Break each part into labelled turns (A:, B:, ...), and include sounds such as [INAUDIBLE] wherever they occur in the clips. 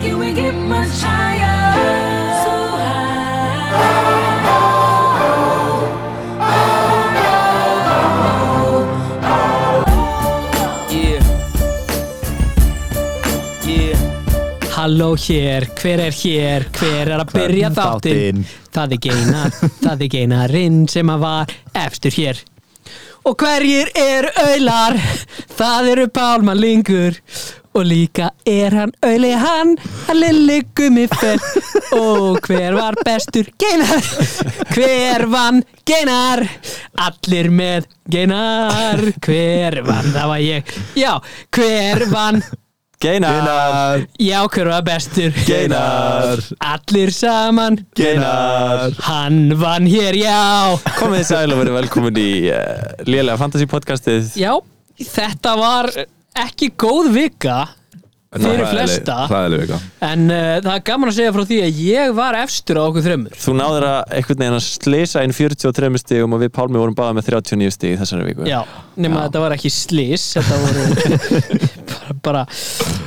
A: Can we get much higher? So high.
B: Yeah. Yeah.
C: Halló hér, hver er hér, hver er að byrja þáttinn?
D: Þáttinn.
C: Það er geinar, það er geinarinn sem að var efstur hér. Og hverjir eru auðlar? Það eru pálmalingur og líka er hann auðli hann, hann lilli gummifer. Og hver var bestur? Geinar! Hver vann? Geinar! Allir með Geinar! Hver vann? Það var ég. Já, hver vann?
D: Geinar,
C: Já, hver var bestur?
D: Geinar.
C: Allir saman
D: Geinar
C: Hann vann hér, já
D: Komið þið sæl og verið velkomin í uh, Lélega Fantasy podcastið
C: Já, þetta var ekki góð vika Fyrir flesta
E: Hræðileg vika
C: En uh, það er gaman að segja frá því að ég var efstur á okkur þrömmur
D: Þú náður að einhvern veginn að slisa inn 43 stigum og við Pálmi vorum báða með 39 stig í þessari viku
C: Já, nema
D: Já.
C: þetta var ekki slís Þetta voru [LAUGHS] bara, bara,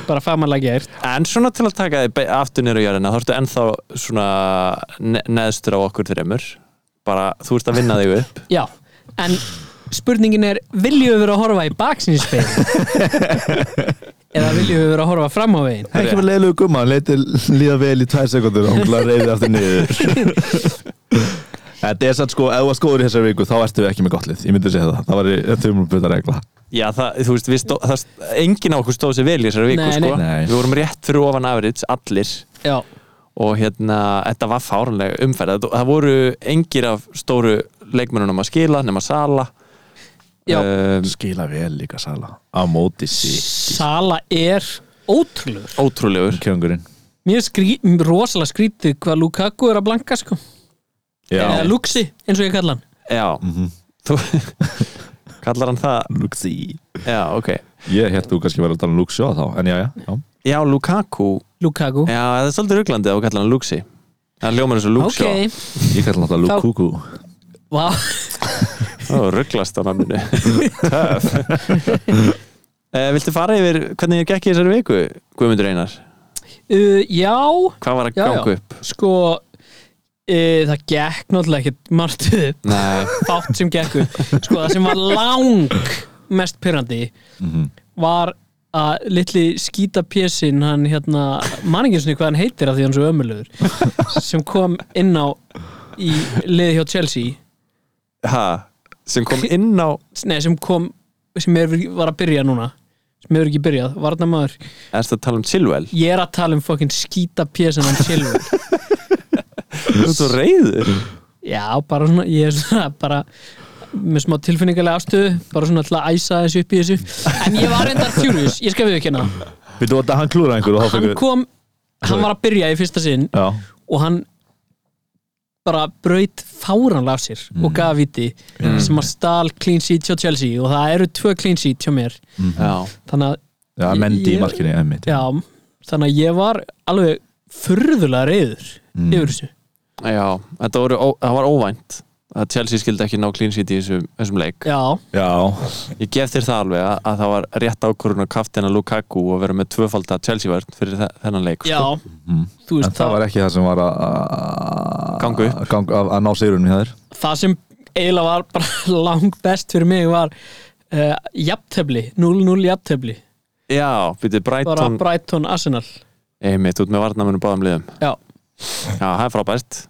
C: bara famalega gert
D: En svona til að taka þið aftur niður á jörðina þá ertu ennþá svona ne neðstur á okkur þreymur bara þú ert að vinna þig upp
C: Já, en spurningin er Viljum við vera að horfa í
D: [LAUGHS]
C: baksinspegin? Eða viljum við vera að horfa fram á veginn?
E: Það er ekki með leiðlegu gumma, hann leiti líða vel í tvær sekundur og hún til að reyði aftur niður [LAUGHS] Þetta er satt sko, ef þú varst góður í þessari viku þá ertu við ekki með gott lið, ég myndi segja það Það var þetta um að byrja regla
D: Já, það, þú veist, við stó, það, engin á okkur stóð sér vel í þessari viku,
C: Nei, nei.
D: sko
E: Nei.
D: Við vorum rétt fyrir ofan afrits, allir
C: Já,
D: og hérna, þetta var fárunlega umferð það, það voru engir af stóru leikmennunum að skila, nema Sala
C: já
D: um,
E: Skila vel líka Sala Á móti sí
C: Sala er ótrúlegur
D: Ótrúlegur
E: Kjöngurinn
C: Mér er skrí, rosalega skrítið hvað Lukaku er að blanka sko Eða
E: Já,
C: Luxi, eins og ég kalla hann
D: Já, þú [LAUGHS] kallar hann það
E: Luxi
D: Já, ok
E: Ég held þú kannski verið að tala um Luxi á þá, en já, já, já
D: Já, Lukaku,
C: Lukaku
D: já, það er svolítið rugglandið að þú kallar hann Luxi Það ljómar eins og Luxi
C: Ok,
E: Ég kallar náttúrulega
C: Þá-
E: Lukuku
C: vá
D: Það rugglast á
C: [LAUGHS]
D: namninu Töf uh, Viltu fara yfir hvernig ég gekk í þessari viku, Guðmundur Einar?
C: uh, Já,
D: Hvað var að
C: Já, já.
D: ganga upp?
C: sko uh, Það gekk náttúrulega ekkert margt upp
D: Nei,
C: Fátt sem gekk upp Sko það sem var lang mest pyrrandi Var að litli skýta pjesin Hann hérna, manninginsni hvað hann heitir Af því hann er svo ömulugur Sem kom inn á í liði hjá Chelsea
D: ha, sem kom inn á
C: Nei, sem kom sem er, var að byrja núna sem hefur ekki byrjað, varnamaður
D: Erst að tala um Chilwell?
C: ég er að tala um fokkin skýta pjesan hann sjálfur
D: Þú ert svo reyður
C: já, bara svona, ég er svona bara með smá tilfinningarlega afstöðu bara svona til að æsa þessu upp í þessu en ég var reyndar furious, ég skal við ekki hérna
E: Við þú að hann klúra einhver og þá
C: hann
E: fengur
C: kom, hann var að byrja í fyrsta sinn
E: Já,
C: og hann bara braut fáranlega af sér og gaf viti sem að stal clean sheet hjá Chelsea og það eru tvö clean sheet hjá mér
D: Já,
C: þannig að
E: já,
C: Ég-
E: mendi
C: ég-
E: í markinu, emmitt
C: Já, þannig að ég var alveg furðulega reyður
E: Mm.
C: yfir þessu
D: já, þetta voru, ó, það var óvænt að Chelsea skildi ekki ná clean sheet í þessum, þessum leik
C: Já,
E: Já,
D: Ég gef þér það alveg að, að það var rétt ákvörun að kaftina Lukaku og vera með tvöfalda Chelsea vörn fyrir þe- þennan leik sko.
C: já sko. Þú
E: Mhm. En
C: veist,
E: það
C: það,
E: var ekki það sem var að- að
D: Ganga upp.
E: að ganga- að- að ná sigurinn í þær
C: það sem eiginlega var bara [LAUGHS] langt best fyrir mig var uh, jafntefli, 0-0 jafntefli
D: Já, byrjuð
C: bara
D: Brighton
C: Brighton Arsenal
D: Einmitt, út með varnamennum báðum liðum
C: Já,
D: Já, það er frábært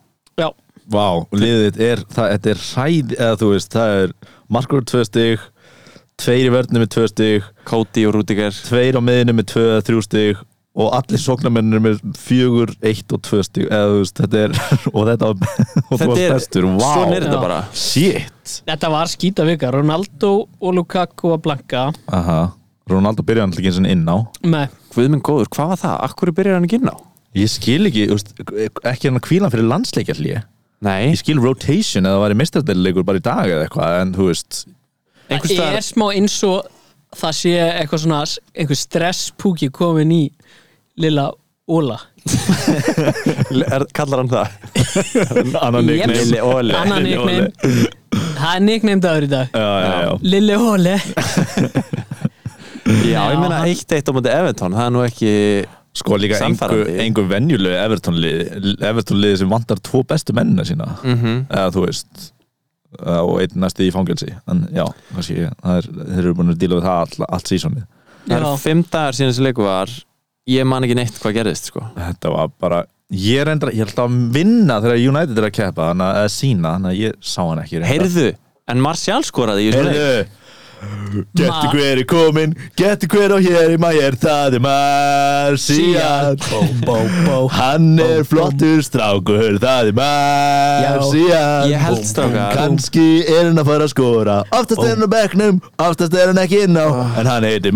C: já,
E: Vá, og liðið þitt er, það, þetta er hræð eða þú veist, það er markur tvö stig tveir í vörnum með tvö stig
D: Cody og Rudiger
E: tveir á miðinu með tvö eða þrjú stig og allir sóknarmennir með fjögur, eitt og tvö stig eða þú veist, þetta er [LAUGHS] og þetta var, [LAUGHS] og þú
D: Þetta
E: varst
D: er,
E: bestur,
D: svona
E: vá
D: er þetta
C: Já.
D: bara
E: shit
C: þetta var skýta vika Ronaldo og Lukaku að blanka
E: Aha. Ronaldo byrjaði hann ekki eins og inn á
C: með,
D: Guð minn góður, hvað var það? Akkur byrjar hann ekki inn á?
E: ég skil ekki, þú veist, ekki hann að kvíla fyrir landsleikjarlíi
D: Nei,
E: ég skil rotation eða það væri mistardelilegur bara í dag eða eitthvað en þú veist,
D: einhvers
C: það
D: staðar
C: er smá eins og það sé eitthvað svona einhver stresspúki komin í lilla Óla
D: er, kallar hann það
E: annan
C: Yep.
E: nickname.
D: Lilli Óli
C: annan
E: Lilli
C: nickname það er nickname dagur í dag
E: já, já, já.
C: Lilli Hóli
D: Já,
C: Já,
D: ég meina
C: hann-
D: eitt eitt á móti Evertón Það er nú ekki
E: Sko líka einhver,
D: Sannfærandi.
E: einhver venjulegu Everton liði, Everton liði sem vantar tvo bestu mennina sína
D: Mhm.
E: eða þú veist eða, og einn næsti í fangelsi en já, kannski, það er, þeir eru búin að díla við það all, allt sísonið
D: Það er
C: Já.
D: fimm dagar síðan þessi leiku var Ég man ekki neitt hvað gerðist sko
E: þetta var bara ég er enda, ég er alltaf að vinna þegar United er að keppa þannig að eða sína, þannig að ég sá hann ekki reyndar.
D: Heyrðu, en Martial skoraði í þessum leik.
E: heyrðu Gettu hver er komin, gettu hver á hér í maður, það er Marcial
C: Bó, bó, bó
E: Hann er
C: Búm, búm.
E: flottur strákur, það er Marcial
D: ég held, strákar.
E: Kanski er hann að fara að skora Oftast er hann á bekknum, oftast er hann ekki inn á
C: Ah.
E: En hann heitir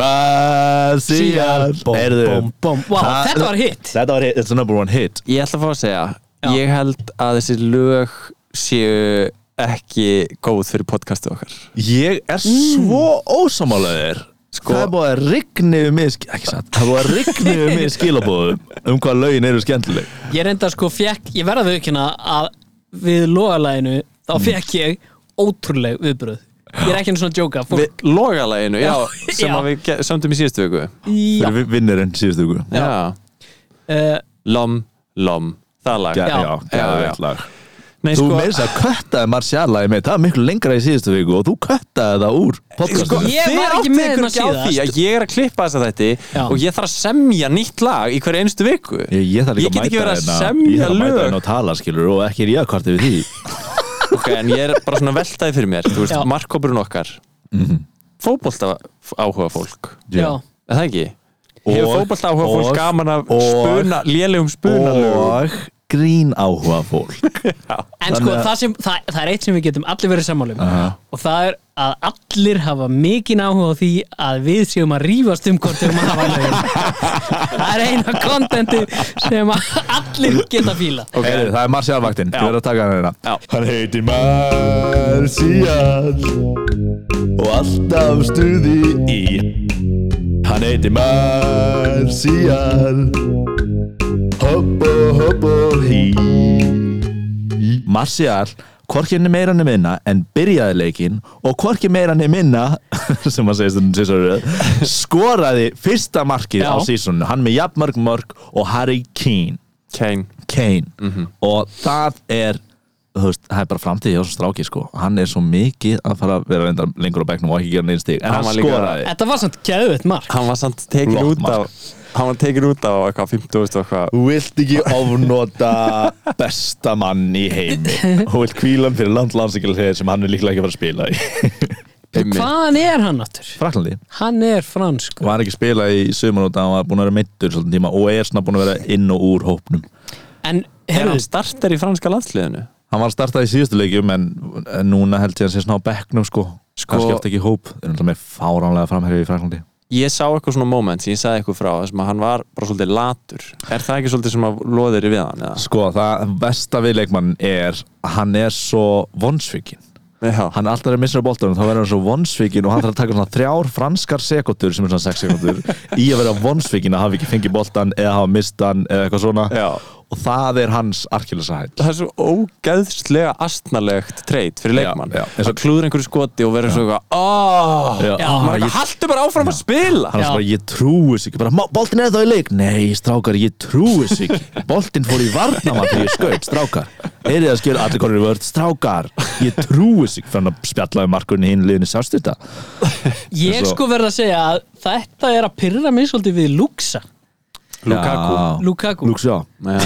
E: Marcial
C: Búm, búm, búm. Vá, þetta var hit.
E: Þetta var hit, it's a number one hit
D: Ég ætla að fá að segja
C: Já.
D: Ég held að þessi lög séu ekki góð fyrir podcastið okkar
E: Ég er svo ósamálaður
D: Sko-
E: Mm. Það er búið að rigni um mig sk- Ekki satt, það er búið að rigni um mig skilabóðum Um hvað lögin eru skemmtileg
C: Ég reynda sko fekk, ég verða þau ekki að við logalæginu þá
E: Mm.
C: fekk ég ótrúleg viðbröð Ég er ekki einu svona að djóka fólk,
D: Við logalæginu, já, [LAUGHS]
C: Já,
D: sem
C: já.
D: að við ge- sömdum í síðustu viku
C: Já,
E: Fyrir vinnirinn síðustu ykkur
D: Já,
C: uh,
D: Lom, lom, það lag
E: Já, já,
C: Já.
E: já,
D: Já, já.
E: já, já.
D: Nei,
E: Þú
D: sko,
E: meins að köttaði Marcialagi með það er miklu lengra í síðustu viku og þú köttaði það úr
D: sko
E: podcastinu
C: Ég
D: þið
C: var ekki
D: áttið
C: með
D: ykkur
C: hérna
D: ekki á
C: síðast.
D: því að ég er að klippa þess að þetta
C: Já.
D: og ég þarf að semja nýtt lag í hverju einstu viku
E: Ég, ég þarf
D: Ég
E: líka
D: get ekki verið að
E: hérna-
D: semja
E: Ég þarf að
D: lög.
E: mæta henn og tala skilur og ekki er ég að kvarta við því
D: ok, en ég er bara svona veltaði fyrir mér þú veist,
C: Já.
D: markkópurinn okkar
E: Mhm.
D: fótbolta áhuga fólk
C: já,
D: er það ekki?
E: Og-
D: hefur fótbolta áhuga fólk
E: og-
D: gaman af
E: og-
D: spuna, lélegum spunalögum
E: Og grín áhuga fólk
C: En sko það, sem, það, það er eitt sem við getum allir verið sammálum
E: Aha.
C: og það er að allir hafa mikinn áhuga á því að við séum að rífast um hvort um að hafa lögin
E: [LAUGHS]
C: Það er eina kontenti sem að allir geta fíla
E: okay. Heyri, Það er Marcialvaktin, þú verður að taka hann
D: Já.
E: hérna Hann heitir Marcial og alltaf stuði í E. Hann heitir Marcial Hopp og hopp og hí Marcial hvorki henni meira henni minna en byrjaði leikinn og hvorki meira henni minna [LAUGHS] sem að segja stundum sísaröð skoraði fyrsta markið
C: Já.
E: á sísonu hann með jafnmörg mörg og Harry Keane
D: Kane
E: Kane
D: Mhm.
E: og það er þú veist, það er bara framtíð hjá þessum stráki sko. hann er svo mikið að fara að vera reyndar lengur á bekknum og ekki gera neins stík en
D: Hann
E: hann,
D: var líka-
E: skoraði
C: Þetta var samt geðvett mark
D: hann var samt tekin
E: Flott
D: út af hann var tekin út af eitthvað 50 og eitthvað
E: Þú vilt [LAUGHS] ekki ofnota besta mann í heimi Þú vilt kvílan fyrir landlandsingil sem hann er líklega ekki að fara að spila í [LAUGHS]
D: Fimmi.
C: Hvaðan er hann áttur?
E: Fraklandi
C: Hann er franskur
E: var ekki að spila í sömurúta hann var búin að vera meittur svolítið tíma og er svona búin að vera inn og úr hópnum
D: er
C: En
D: hann
C: herrðu,
D: starter í franska landsliðinu?
E: Hann var að starta í síðustu leikjum en, en núna held ég að hann sé svona á bekknum sko,
D: Sko-
E: sko kannski eftir ekki í hóp þeir eru alltaf með fáránlega framherfi í Fraklandi
D: ég sá eitthvað svona moment sem ég sagði eitthvað frá þessum að hann var bara svolítið latur er það ekki svolítið sem að loðir við hann? Eða?
E: Sko, það versta við leikmann er að hann er svo vonsvikinn
D: Já.
E: hann er alltaf að missa bóltanum, þá verður hann svo vonsvikinn og hann þarf að taka svona þrjár franskar sekundur sem er svona sex sekundur í að vera vonsvikinn að hafa ekki fengið bóltan eða hafa mistan eða eitthvað svona
D: Já.
E: og það er hans arkilsahæll
D: það er svo ógeðslega astnalegt treyt fyrir leikmann
E: Já, já.
D: að klúður einhverju skoti og verður svo eitthvað oh, maður
E: Já.
D: er
E: Já.
D: eitthvað, haltu bara áfram að spila
E: hann er
C: Já.
E: svona, ég trúis ekki, bara, "Má, boltinn er þá í leik nei, strákar, ég trúis ekki boltinn fór í varnamann þegar ég skaut, strákar er það að skilja allir konur í vörð, strákar ég trúis ekki, fyrir hann að spjallaði markunni hinn liðinu sástu þetta
C: ég
E: svo-
C: sko verð að segja að þetta er að pyrra mig svolítið við Luxa
E: Já.
C: Lukaku.
E: Lukaku, já.
D: Já.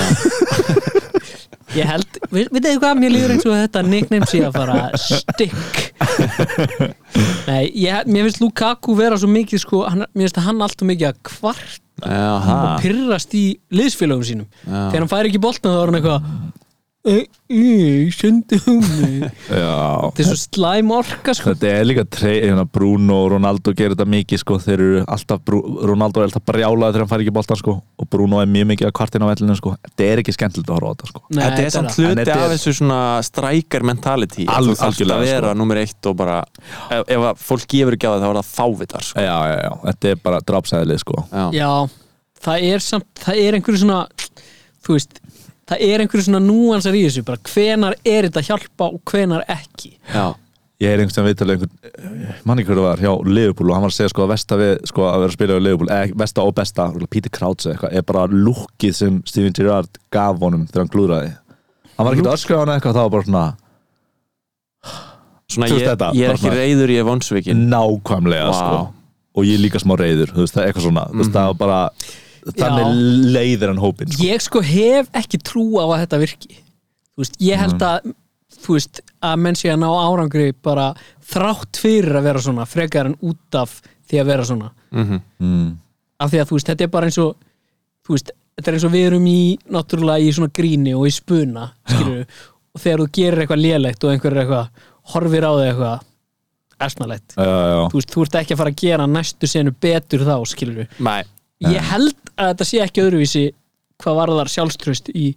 C: Ég held, [LAUGHS] við, við þau hvað, mér líður eins og þetta nickname sé að fara stykk
D: [LAUGHS]
C: Nei, ég, mér finnst Lukaku vera svo mikið sko, hann, mér finnst að hann alltaf mikið að kvart
D: Jaha.
C: og pyrrast í liðsfélögum sínum
D: Já.
C: þegar hann fær ekki boltna þá er hann eitthvað "Æ, æ, Sjöndi hún Þetta
E: Já.
C: er svo slæm orka sko
E: Þetta er líka trey, hérna, Bruno og Ronaldo gerir þetta mikið sko, þeir eru alltaf, Bru- Ronaldo er alltaf brjálaði þegar hann fær ekki boltan sko, og Bruno er mjög mikið að kvartin á vellinu sko, þetta er ekki skemmtilegt að horfa á þetta sko.
C: Nei,
D: þetta er
C: þetta er
D: samt
C: það.
E: En
D: hluti
E: þetta er-
D: af þessu svona strækar mentality
E: Al-
D: Þú þarft að
E: algjörlega,
D: vera
E: sko.
D: nummer eitt og bara ef, ef að fólk gefur ekki á það þá er það fávitar sko.
E: Já, já, já, þetta er bara drapsæðilið sko.
D: Já.
C: Já, það er samt, það er einhverju svona þú veist, það er einhverju svona núansar í þessu, bara hvenar er þetta að hjálpa og hvenar ekki
D: Já.
E: ég heyri einhvern veginn viðtalið einhvern, manni hverju var hjá Liverpool og hann var að segja sko að versta við sko að vera að spila á Liverpool, eða versta og besta örugglega Peter Crouch eða eitthvað, er bara lukkið sem Steven Gerrard gaf honum þegar hann glúðraði hann var ekki að öskra á hann eitthvað það var bara svona
D: Svona,
E: Þú veist
D: ég,
E: þetta,
D: ég er
E: bara
D: ekki
E: svona-
D: reyður, ég er vonsvikin
E: nákvæmlega
D: Vá.
E: sko og ég er líka smá reyður, þú veist það er eitthvað svona þú veist það var bara, þannig leiðir hann hópin sko.
C: Ég sko hef ekki trú á að þetta virki Þú veist, ég held að þú veist, að menn sé að ná árangri bara þrátt fyrir að vera svona frekar en út af því að vera svona
D: Mhm.
E: mm.
C: af því að þú veist, þetta er bara eins og þú veist, þetta er eins og við erum í náttúrulega í svona gríni og í spuna skilur, og þegar þú gerir eitthvað lélegt og einhver er eitthvað, horfir á þig eitthvað esnalegt,
E: já, já, já.
C: þú veist, þú ert ekki að fara að gera næstu senu betur þá, skilur
D: Nei,
C: ég held að þetta sé ekki öðruvísi hvað varðar sjálfströst í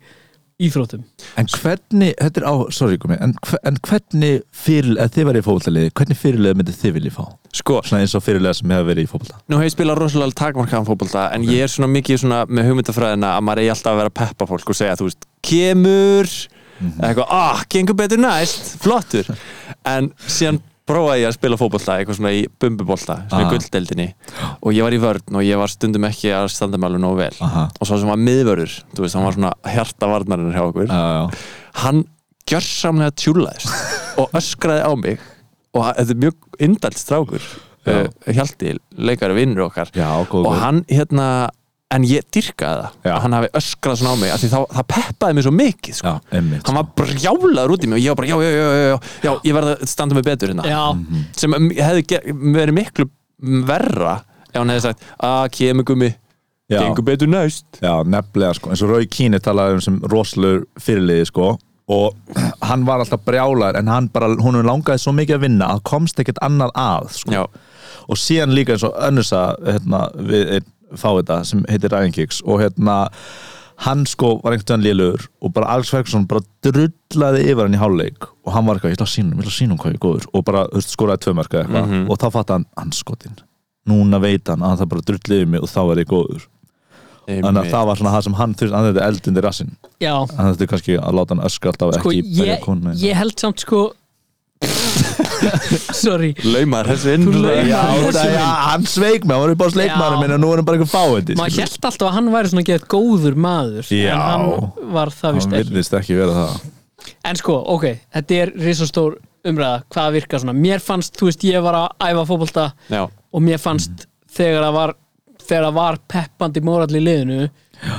C: íþróttum
E: En hvernig, þetta er á, sorry komi en, hve- en hvernig fyrir, ef þið verið í fótballaliði hvernig fyrirlega myndið þið viljið fá?
D: sko
E: Svona eins og fyrirlega sem hefur verið í fótballa
D: Nú hef ég spilað rosalega takmarkaðan fótbolta en ég er svona mikið svona með hugmyndafræðina að maður eigi alltaf að vera að peppa fólk og segja þú veist, kemur
E: Mhm.
D: eitthvað, ah, gengur betur næst flottur,
E: [LAUGHS]
D: en síðan prófaði ég að spila fótbolta, eitthvað svona í bumbubolta, svona í
E: Ah.
D: gulldeldinni og ég var í vörn og ég var stundum ekki að standa mælu nógu vel
E: Aha.
D: og svo sem var miðvörður, þú veist, hann var svona hjarta varnarinn hjá okkur
E: Já,
D: hann gjörsamlega tjúlaðist og öskraði á mig og hann- þetta er mjög indalt strákur
E: Já.
D: uh, Hjalti, leikari vinnur okkar
E: já, góð,
D: og
E: góð
D: hann hérna en ég dyrkaði það
E: Já.
D: að hann hafi öskrað svona á mig af því það, það peppaði mig svo mikið sko.
E: Já, einmitt
D: hann var brjálaður út í mig og ég var bara já, já, já, já, já, já ég verði að standa mig betur hérna
C: Já,
E: Mhm.
D: sem um, hefði ge- verið miklu verra ef hann hefði sagt að kemur gummi,
E: já,
D: gengur betur næst
E: já, nefnilega sko eins og Rauði Kíni talaði um sem rosalur fyrirliði sko og [CLEARS THROAT] hann var alltaf brjálar en hann bara, hún langaði svo mikið að vinna að komst ekkert annað að sko.
D: já,
E: og síðan líka eins og önnursa hérna, við einn fávita sem heitir Ryan Giggs og hérna hann sko var einhvern veginn lélugur og bara Alex Ferguson bara drullaði yfir hann í háluleik og hann var eitthvað, ég ætla að sýna honum, ég ætla að sýna hann hvað ég er góður og bara þú veist, skoraði tvö mörka eitthvað og þá fatt hann anskotin núna veit hann að það bara drulliði mig og þá er ég góður þannig að
D: einmitt.
E: það var svona það sem hann þurfti, hann þetta eldindi rassinn
C: já
E: hann þetta kannski að láta hann öskra
C: Sko,
E: alltaf ekki berja
C: ég,
E: konuna í-
C: ég held samt sko [LAUGHS] Sorry
D: laumar þessu inn
C: Þú laumar
E: Já,
C: Ég-
E: það- já, hann sveik mig, hann var upp á sleikmarum
C: Já.
E: minn og nú er hann bara sko. eitthvað fáið
C: Maður held alltaf að hann væri svona gett góður maður
E: Já.
C: En hann var það vist
E: hann
C: ekki
E: virðist ekki vera það
C: En sko, ok, þetta er risastór umræða Hvað virkar svona Mér fannst, þú veist, ég var að æfa fótbolta
D: já,
C: Og mér fannst þegar það var Þegar það var peppandi mórall í liðinu Já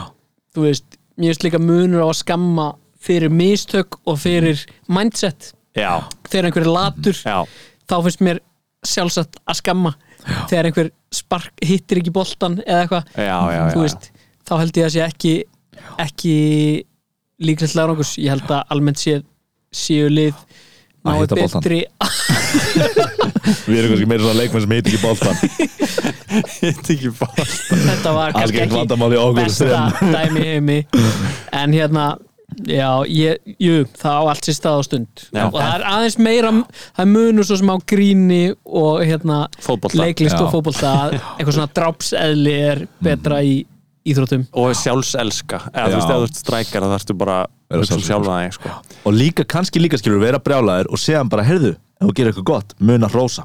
C: Þú veist, mér finnst líka munur á að skamma Fyrir mistök og fyrir mindset
D: já,
C: Þegar einhver er latur
D: já
C: þá finnst mér sjálfsagt að skamma þegar einhver spark hittir ekki boltan eða eitthvað
D: Já, já, já,
C: Þú veist, þá held ég að sé ekki ekki líklegt lagrangus ég held að almennt sé séu lið
E: Að
C: nái
E: hitta boltann.
C: betri [LAUGHS]
E: Við erum kannski meira svona leikmenn sem heitir ekki
D: [LAUGHS]
E: boltan
D: hitt ekki bara
C: þetta var kannski
E: Algengt
C: ekki
E: vandamál í okkur
C: besta dæmi í heimi en hérna Já, ég, jú, það á allt sér stað á stund
D: Já.
C: og það er aðeins meira það er munur svo sem á gríni og hérna
D: Fótbolta.
C: leiklist og
E: Já.
C: fótbolta að eitthvað svona drápseðli er betra í íþróttum
D: og sjálfselska eða
E: Já.
D: þú veist, ef þú ert strækar þá þarfstu bara
E: Vera
D: að hugsa um
E: sjálfselskar.
D: sjálfa þig sko.
E: Og líka, kannski líka skilur vera brjálæðir og segja hann bara, heyrðu, ef þú gerir eitthvað gott muna rósa,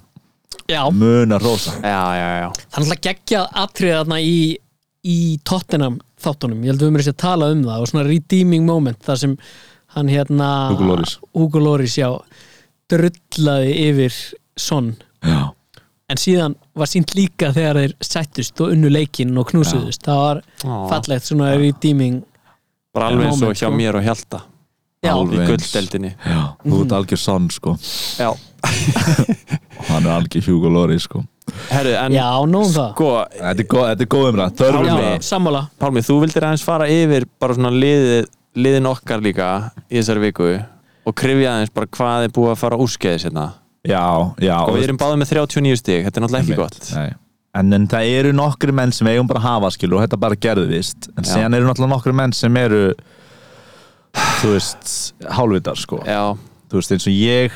C: Já,
E: muna rósa
D: já, já, já,
C: það er alltaf geggjað atrið þarna í, í Tottenham þáttunum, ég held við mér sér að tala um það og svona redeeming moment þar sem hann hérna
E: Hugo Lloris.
C: Hugo Lloris, já, drullaði yfir Son
E: Já,
C: en síðan var sínt líka þegar þeir sættust og unnu leikinn og knúsuðust það var
D: Ó.
C: fallegt svona redeeming
D: bara alveg eins og
C: Moment,
D: hjá
C: sko.
D: mér og Hjalta
C: já,
E: Alveg.
D: í
E: Veins.
D: gulldeldinni
E: já, þú ert algjör sann sko
D: já,
E: og hann er algjör Hugo Lóri sko
D: herru, en
C: já, nóg um það
D: sko,
E: Þetta er góð, þetta er góð umræð, þörfum
C: já,
E: umræð
C: sammála
D: Pálmi, þú vildir aðeins fara yfir bara svona liðið liðin okkar líka í þessari viku og krifja aðeins bara hvað er búið að fara úrskeiðis hérna
E: Já, já
D: og Sko, við erum báðið með 39 stig, þetta er náttúrulega ekki
E: Einmitt,
D: gott
E: nei. En, en það eru nokkri menn sem eigum bara að hafa skilur og þetta bara gerðist en
D: Já.
E: síðan eru náttúrulega nokkri menn sem eru þú veist, hálfvitar sko
D: já,
E: þú veist eins og ég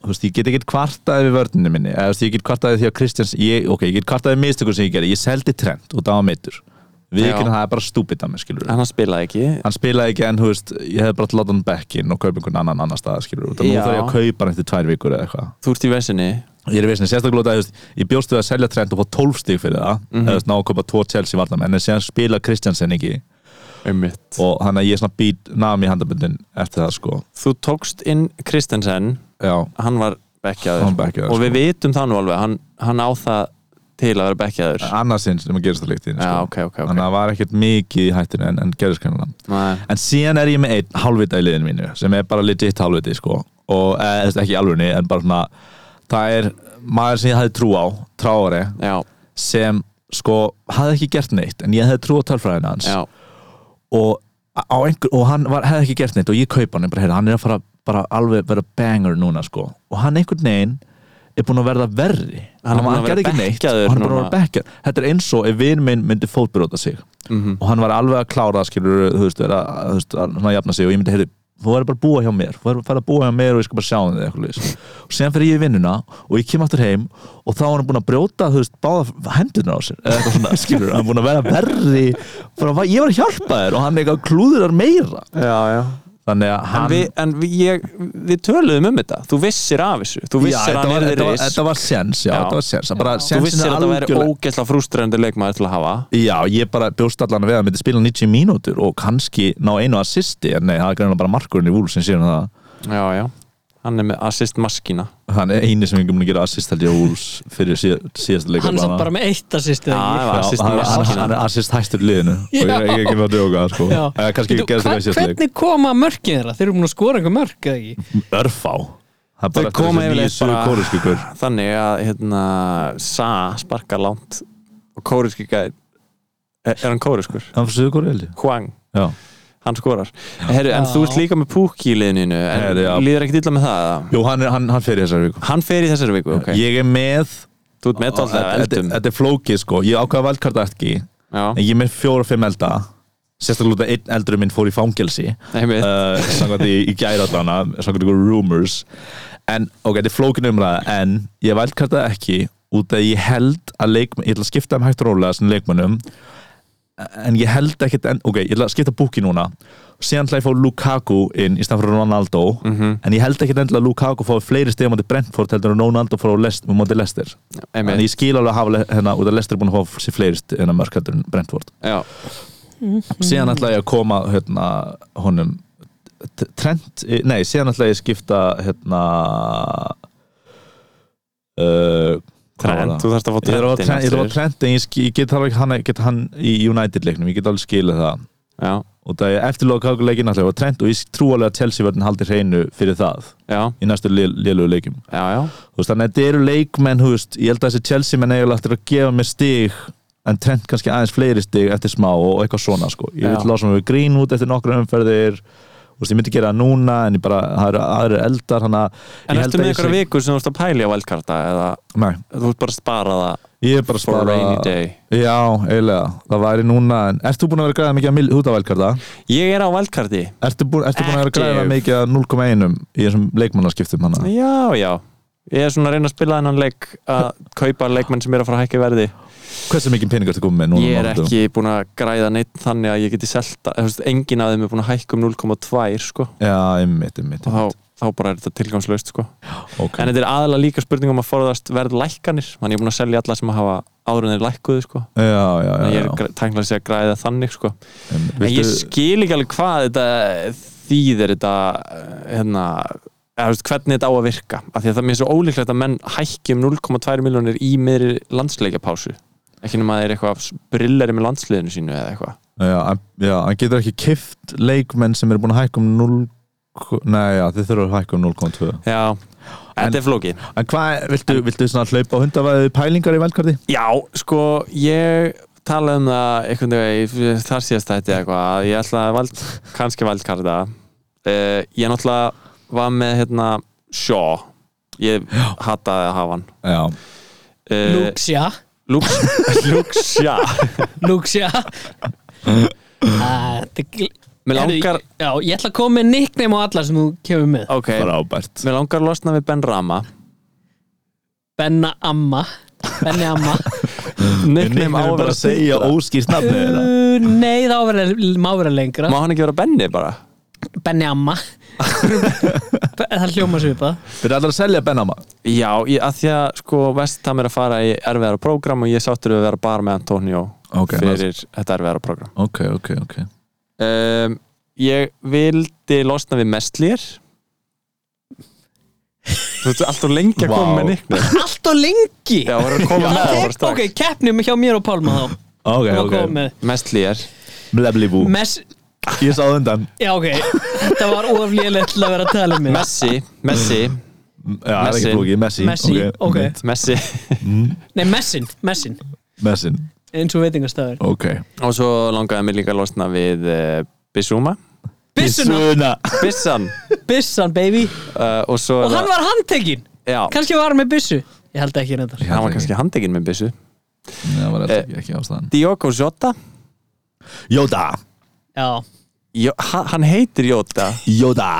E: þú veist, ég get ekki kvartaði við vörninu minni eða þú veist, ég get kvartaði því að Kristjans ég, ok, ég get kvartaði mistökum sem ég gerði, ég seldi trend og það var meittur Við ekki,
D: Já.
E: það er bara stúpid að mér, skilur
D: en hann spilaði ekki
E: Hann spilaði ekki en, þú veist, ég hefði bara láta hann bekkin og kaupa einhvern annan annar stað, skilur Þannig
D: Já.
E: nú þarf ég að kaupa hann eftir tvær vikur eða eitthvað
D: þú ert í vesinni
E: Ég er vissin, sérstaklega út af, þú veist, ég bjóst við að selja trend og fá 12 stík fyrir það
D: Mhm.
E: mm -hmm. Ná að kaupa tvo Chelsea varnamenn, en síðan spila Kristjansen ekki
D: Einmitt.
E: Og hann að ég svona být nam í handabundin eftir það, sko
D: þú tókst inn Kristensen
E: Já,
D: hann var bekkjaður
E: Hann var bekkjaður,
D: og
E: sko.
D: við vitum það nú alveg hann, hann á það til að vera bekkjaður
E: annarsins nema gerist það líkt í henni,
D: já
E: sko.
D: ok ok,
E: Þannig að
D: okay.
E: það var ekkert mikið í hættinu en, en gerist kannan
D: Nei.
E: En síðan er ég með einn hálfvita í liðinu mínu sem er bara legit hálfviti sko og eða þú veist, ekki í alvörunni en bara svona það er maður sem ég hafði trú á tráari
D: já,
E: sem sko hafði ekki gert neitt en ég hafði trú á tölfræðin hans
D: já,
E: og, á einhver, og hann var, hefði ekki gert neitt og ég kaupa hann bara, heyra, hann er að fara bara alveg vera banger núna sko og hann einhvern veginn er búinn að verða verri
D: Hann er búinn að vera
E: gerði ekki neitt
D: bekkjaður
E: og hann er búinn að
D: núna.
E: vera bekkjaður þetta er eins og ef vin minn myndi fótbróta sig
D: Mhm.
E: og hann var alveg að klára skilur, þú veist, vera, þú veist, að svona jafna sig og ég myndi, heyrðu, þú verður bara að búa hjá mér þú verður bara að búa hjá mér og ég skal bara sjá hann þig eitthvað leis. og sen fer ég í vinnuna og ég kem aftur heim og þá er hann búin að brjóta þú veist, báða hendurna á sér eða eitthvað svona, skilur, hann er búin að vera verri bara, "Va- ég var að hjálpa þér og hann eitthvað klúðurar meira
D: já, já.
E: þannig að
D: En,
E: hann
D: við, en við, ég, við töluðum um þetta Þú vissir af þessu Þú
E: já,
D: vissir að
E: þetta
D: hann
E: var,
D: er
E: þetta, var,
D: þér
E: þetta var sens, já,
D: Já.
E: þetta var sens bara
D: Þú
E: sensin
D: vissir
E: er
D: að þetta væri
E: algjörlega-
D: ógeðslega frústrandi leikmaður til að hafa
E: Já, ég bara bjóst allan að við að hann myndi spila 90 mínútur og kannski ná einu assisti en nei, það er greinlega bara markurinn í vúl sem séum það
D: Já, já Hann er með assist maskína
E: hann er eini sem ekki mun að gera assist held ég á Wolves fyrir síð, síðasta leikur
C: Hann samt bara með eitt assist eða
D: Já,
C: ekki?
D: já, assist í
E: hann, hann,
D: maskína.
E: hann er assist hæstur í liðinu og ég er ekki með að djóka sko.
C: Já.
E: Eh, kannski
C: Veitu,
E: ekki gerist það í
C: hver-
E: síðasta leik
C: Hvernig koma mörkin þeirra? Þeir eru búin að skora einhver mörk eða ekki?
E: örfá Það er
D: Þau
E: bara eftir
D: koma
E: þessi nýju
D: yfirleitt
E: suður
D: bara-
E: kóruskíkur.
D: Þannig að hérna Sa sparkar langt Og kóriski gæð Er, er hann kóriskur?
E: hann fyrir suður kóru held ég
D: Hwang,
E: Já.
D: hann skorar Herru, en
C: Já.
D: þú ert líka með púk í liðninu En
E: Herru, já.
D: líður ekki dilla með það eða?
E: jú hann, er, hann, hann fyrir þessari viku
D: Hann fer í þessari viku, ok
E: ég er með
D: Þú ert með alltaf
E: þetta-
D: eldum
E: þetta er flókið sko ég ákvaða valdkarta ekki en
D: Já,
E: ég er með fjóra og fimm elda sérstaklega út af einn eldurum minn fór í fangelsi
D: einmitt
E: uh, samkvæmt í, í gæra allana samkvæmt ykkur rumors en ok, þetta er flókin umræða en ég vældkarta ekki út að ég held að leikmenn, ég ætla að skipta um hægt og rólega sem leikmennum en ég held ekkert en, ok, ég ætla að skipta búki núna og síðan ætla ég að fá Lukaku inn í stað fyrir Ronaldo
D: Mhm.
E: en ég held ekkert endilega að Lukaku fái fleiri stegum á Brentford heldur en Ronaldo fór á lest, móti Lester en
D: Einmitt,
E: ég skil alveg að hafa le- hérna, út að Lester er búin að fá sér fleiri st- hérna, mörk heldur en Brentford
D: já
E: síðan ætla ég að koma hérna, honum t- trend, nei, síðan ætla ég að skipta hérna uh, hvað var
D: Trend,
E: það?
D: þú þarfst að fá
E: ég er á
D: trendin
E: trend, ég er á
D: aftur.
E: trend en ég, sk- ég get, þarf ekki hann, get hann í United leiknum, ég get alveg skilið það
D: Já,
E: og það er eftirlóka leikin ætla ég að fá trend og ég trú alveg að Chelsea verðin haldi hreinu fyrir það
D: já,
E: í næstu lélugu leikum
D: já, já
E: Þú veist, þannig að þetta eru leikmenn, þú veist, ég held að þessi Chelsea menn eiginlega eftir að gefa mér stig en trend kannski aðeins fleiri stig eftir smá og, og eitthvað svona, sko. Ég
D: Já.
E: vil lása mig við grín út eftir nokkra umferðir, þú veist, ég myndi gera það núna en ég bara, það eru aðri eldar, hann að
D: En
E: ég
D: ertu
E: held
D: með
E: að
D: einhverja vikur sem þú ert að pæli á valkarta eða
E: Nei,
D: þú ert bara að spara það
E: ég er bara að
D: for a
E: spara
D: rainy day
E: Já, eiginlega, það væri núna en Ertu búin að vera að græða mikið að mil, út af velkarta?
D: Ég er á valkarti
E: Ertu búin, ertu búin að vera að græða
D: Active.
E: mikið að 0,1 í þessum leikmannaskiptum hana?
D: Já, já Ég er svona að reyna að spila þennan leik að kaupa leikmenn sem er að fara að hækka í verði
E: Hversu mikið peningar ertu komið með núna? á
D: Ég er
E: mánudögum?
D: ekki búin að græða neitt þannig að ég geti selta eða, þú veist, Engin af þeim er búin að hækka um 0,2 sko.
E: Já, einmitt, einmitt,
D: og þá, þá bara er þetta tilgangslaust sko.
E: ok
D: En þetta er aðalega líka spurning um að forðast verðlækkanir Þannig ég er búin að selja alla sem að hafa árunnir lækkuðu sko.
E: Já, já, já,
D: Þannig
E: já,
D: Ég er gr- tæknilega að segja að græða þannig sko.
E: einmitt.
D: En ég
E: Viltu-
D: skil ekki alveg hvað þetta þýðir þetta hérna, eða, þú veist, hvernig þetta á að virka af því að það er mér svo ólíklegt að menn hækki um 0,2 miljónir í miðri landsleikjapásu ekki nema að það er eitthvað brillari með landsliðinu sínu eða eitthvað
E: Já, en- já, hann getur ekki kift leikmenn sem eru búin að hækka um 0 Nei, já, þið þurfum að hækka um 0,2
D: Já,
E: En-
D: þetta er flóki
E: En hvað, viltu, viltu svona hlaupa á hundavaðið pælingar í velkarti?
D: Já, sko, ég talaði um það einhvern veginn í þar síðast þetta eitthvað að ég ætla að vald, kannski valdkarta uh, ég náttúrulega var með hérna Shaw ég hataði að hafa hann
E: Já,
D: Eh,
C: Luxia
D: [LAUGHS] Lux- Luxja
C: Luxia Ah, Þetta er gl-
D: Mér langar,
C: Herðu, Já, ég ætla að koma með nickname á alla sem þú kemur með
D: ok
E: frábært
D: Mér langar að losna við Ben Rama
C: Benna Amma Benni Amma
E: Nickname
D: nickname á
E: er
D: að
E: bara
D: vera
E: að segja óskýrt nafni eða? [LAUGHS]
C: Uh, Nei, þá verður- má vera lengra
D: Má hann ekki vera Benni bara?
C: Benni Amma Það hljóma svipað
E: Fyrir allar að selja Benama
D: Já, ég, að því að sko Vestham er að fara í erfiðara prógram og ég sáttur við að vera bara með Antonio
E: Ok,
D: fyrir þetta erfiðara prógram
E: Ok, ok, ok
D: um, Ég vildi losna við Mestlýr Þú veit, allt og lengi að koma
E: Vá.
D: með nickname
C: Allt og lengi
D: Já, voru að koma með það bara
C: Tek- Ok,
D: strax
C: keppnum hjá mér og Pálma þá
E: Ok,
C: Hún var
E: ok
C: góð með-
D: Mestlýr
E: Mleblibú
C: Mess,
E: Ég sá undan
C: já ok Þetta var oflíðilegt til að vera að tala um mig
D: Messi, Messi,
E: Já, það er
D: Messi.
E: ekki flóki Messi
C: Messi, ok.
E: mitt.
D: Messi
C: Nei, messin, messin
E: Messin
C: eins og veitingastafur
E: Ok
D: Og svo langaði mig líka að losna við uh, Bissúma
C: Bissuna,
E: Bissuna
D: Bissan
C: bissan baby
D: uh, Og svo
C: Og hann var handtekinn
D: Já,
C: Kannski var hann með bissu Ég held ekki reyndar
D: hann var kannski handekinn með Bissu
E: Nei, það var ekki, ekki ástæðan
D: Diogo Jota
E: Jóta
C: Já,
D: Jó, hann, hann heitir Jóta
E: Jóta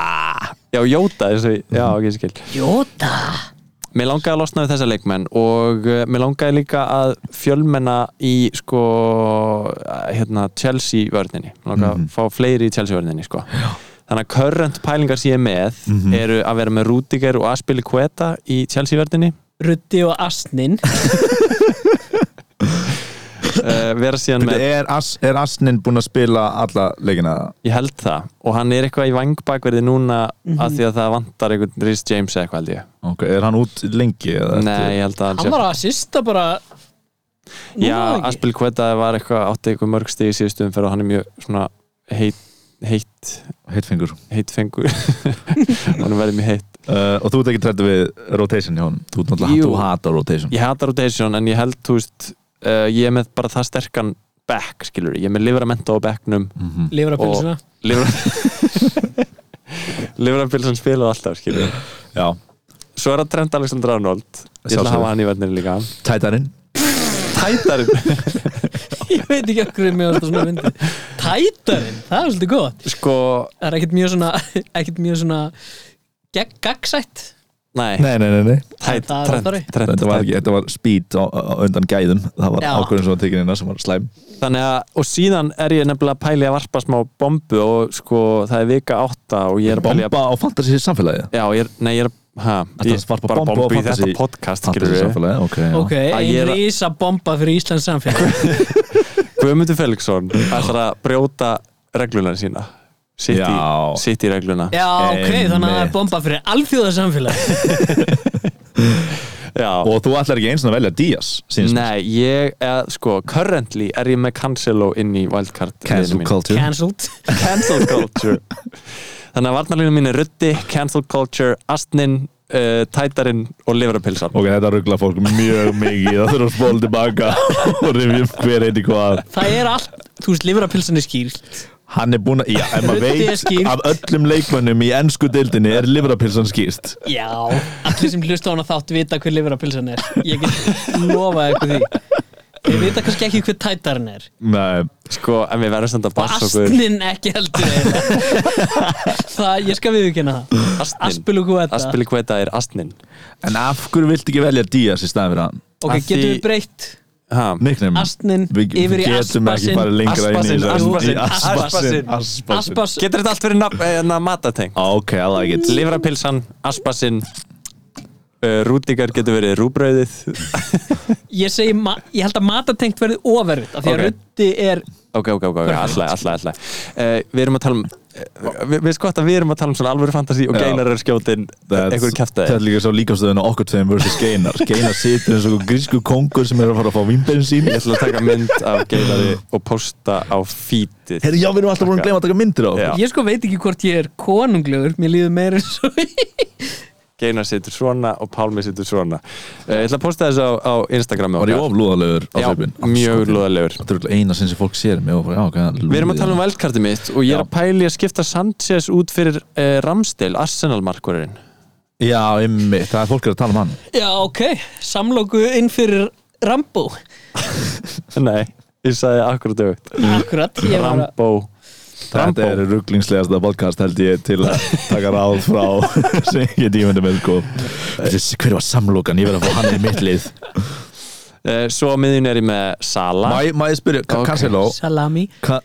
D: Já, Jóta eins og ég- Já, ok, skil
C: Jóta
D: Mér langaði að losna við þessa leikmenn og eh, mér langaði líka að fjölmenna í sko eh, hérna, Chelsea vörninni Mér langaði að fá fleiri í Chelsea vörninni sko. Þannig að current pælingar sem ég er með eru að vera með Rudiger og Aspili Queta í Chelsea vörninni
C: Ruddi og Asnin
D: uh, vera síðan með,
E: Er, as, er Asnin búinn að spila alla leikina?
D: ég held það og hann er eitthvað í vangbakverði núna
C: Mhm.
D: mm að því að það vantar einhvern Rhys James eða eitthvað held ég
E: Ok, er hann út lengi? eða
D: Nei, ég held að
C: Hann var að sista bara Nú var
D: Já,
C: það ekki.
D: Aspil Kveta var eitthvað átti eitthvað mörg stig í síðustu umferð og hann er mjög svona heitt heitt,
E: eftir- Heitfingur
D: heitt [LAUGHS] fengur hann er verið mjög heitt
E: uh, Og þú ert ekki trættu við rotation hjá hann Þú ert náttúrulega
D: Jú.
E: þú hatar rotation
D: Ég hata rotation en ég held, þú veist uh, ég er með bara það sterkan back, skilur ég er með livramento á backnum
C: Lifra pilsuna
D: [LAUGHS] livrambilsan spilaði alltaf, skilur við.
E: Já
D: Svo er það Trent Alexander Arnold Ég ætla að
E: Sjálfsögðu.
D: hafa hann í verðinu líka
E: Tætarinn
D: Tætarinn,
C: Ég veit ekki okkur um mig svona myndi Tætarinn, það er svolítið gott
D: sko
C: Það er ekkert mjög svona ekkert mjög svona gegn gagsætt
D: Nei,
E: Nei, nei, nei, nei
D: Tæt,
C: Það er
D: Trent,
C: ráttari.
D: Trent,
E: Þetta var, ekki,
D: Trent.
E: þetta var speed á, á, undan gæðum Það var
C: Já.
E: ákvörðin sem var tekin innan sem var slæm
D: Þannig að, og síðan er ég nefnilega að pæli að varpa smá bombu og sko, það er vika átta og ég er að pæli að
E: Bomba á fantasy samfélagi
D: Já, ég er, nei, ég er ha,
E: Ætlar
D: ég,
E: að varpa
D: bara
E: bombu á
D: bombu í
E: fantasy-
D: þetta podcast skilur
E: Fantasy
D: við
E: samfélagi, ok, já.
C: Ok,
D: Að ég
C: ein
D: er að-
C: rísa bomba fyrir Íslands samfélag
D: Guðmundur Felixson ætlar að brjóta regluna sína sitt í,
E: Já.
D: sitt í regluna
C: Já,
D: [LAUGHS]
C: ok, þannig að það er bomba fyrir alþjóðarsamfélag
D: Já.
E: Og þú ætlar ekki eins og að velja Díaz
D: Nei, ég, eða, sko, currently er ég með Cancelo inn í wildcard liðinu mínu.
E: culture
C: Cancelled
E: [LAUGHS]
D: Cancel Culture Þannig að varnarleginu mín er Ruddi, Cancel Culture, Astnin, uh, Tætarinn og Livrapilsan
E: Ok, þetta ruggla fólk mjög mikið Það þurfum að spóla tilbaka [LAUGHS] og rifjum hver eitthvað hvað
C: Það er allt, þú veist, lifrapilsan er skýr
E: Hann er búinn að, já, ef maður
C: Ruddi er skýrt.
E: veit Af öllum leikmönnum í ennsku deildinni er livrapilsan skýrst
C: Já, allir sem hlusta á hana þátt vita hver lifrapilsan er Ég get lofað ykkur því Þeir vita kannski ekki hver tætarinn er
E: Nei,
D: Sko, en við verðum samt að
C: Og
D: passa okkur
C: astnin
D: [LAUGHS]
C: ekki heldur eiginlega. Það, ég skal viðurkenna það
D: Astnin,
C: Aspilu hvað
D: Aspili Kveta er Astnin
E: en af hverju viltu ekki velja Díaz í staðan fyrir hann?
C: Ok,
D: Að
C: getum
D: því-
C: við breytt
D: ha,
E: Nickname
C: Astnin
E: Við
C: yfir í
E: við getum ekki
C: Aspasin.
E: farið lengra inn í
D: Aspasin,
E: þessu.
D: Aspasin,
E: Í
D: Aspasin.
E: Aspasin Ah,
C: Aspas
D: Getur þetta allt verið nafn, eh, matateng?
E: Ok, I like it
D: Livrapilsan, Aspasinn uh, Rúdíkar getur verið rúbröðið
C: Ég segi, ma- ég held að matatengt verði ofervitt Af því að
D: Ok.
C: ruddi er
D: Ok, ok, ok,
E: [LAUGHS]
D: okay alltaf, alltaf, alltaf uh, Við erum að tala um uh, Við veist gott að við erum að tala um svona alvöru fantasi og
E: Já.
D: geinar er skjótin
E: That's-
D: einhver
E: Þetta
D: kæftæði
E: er líka svo líkastöðin á okkur tveim versus Geinar Geinar situr eins og einhver grísku kongur sem er að fara að fá vimberinn sín
D: Ég ætla að taka mynd af geinari og posta á feedið
E: Herri, já, við erum alltaf búin að gleyma að taka myndir á okkur.
D: Já.
C: Ég sko veit ekki hvort ég er konunglegur Mér líður meira eins og
D: Geinar situr svona og Pálmi situr svona uh, Ég ætla að posta þessu á, á Instagrami
E: Var ég oflúðalegur á
D: Já,
E: svipin?
D: mjög lúðalegur
E: Þetta er örugglega eina sinn sem fólk sér mig og bara, já, ok, hann er
D: Við erum að
E: lúði.
D: tala um veldkartið mitt og ég er
E: Já.
D: að pæli að skipta Sanchez út fyrir uh, Ramsdale, Arsenal-markurinn
E: Já, ymmið, það er fólk er að tala um hann
C: [LAUGHS] Já, ok, samlóku inn fyrir Rambo
D: Nei, ég sagði akkurat aukt
C: Mm. Akkurat, ég var að
D: Rambo
E: Þetta er ruglingslegasta podcast held ég til að taka ráð frá [LAUGHS]
D: [LAUGHS]
E: sem ég dímyndi með sko Þessi, Hver var samlokan? Ég verið að fá hann í mitt lið
D: Eh, Svo á miðjun er ég með Sala
E: Má ég- má ég spyrja, Ka-
D: Ok.
E: Cancelo
C: Salami
E: Ka-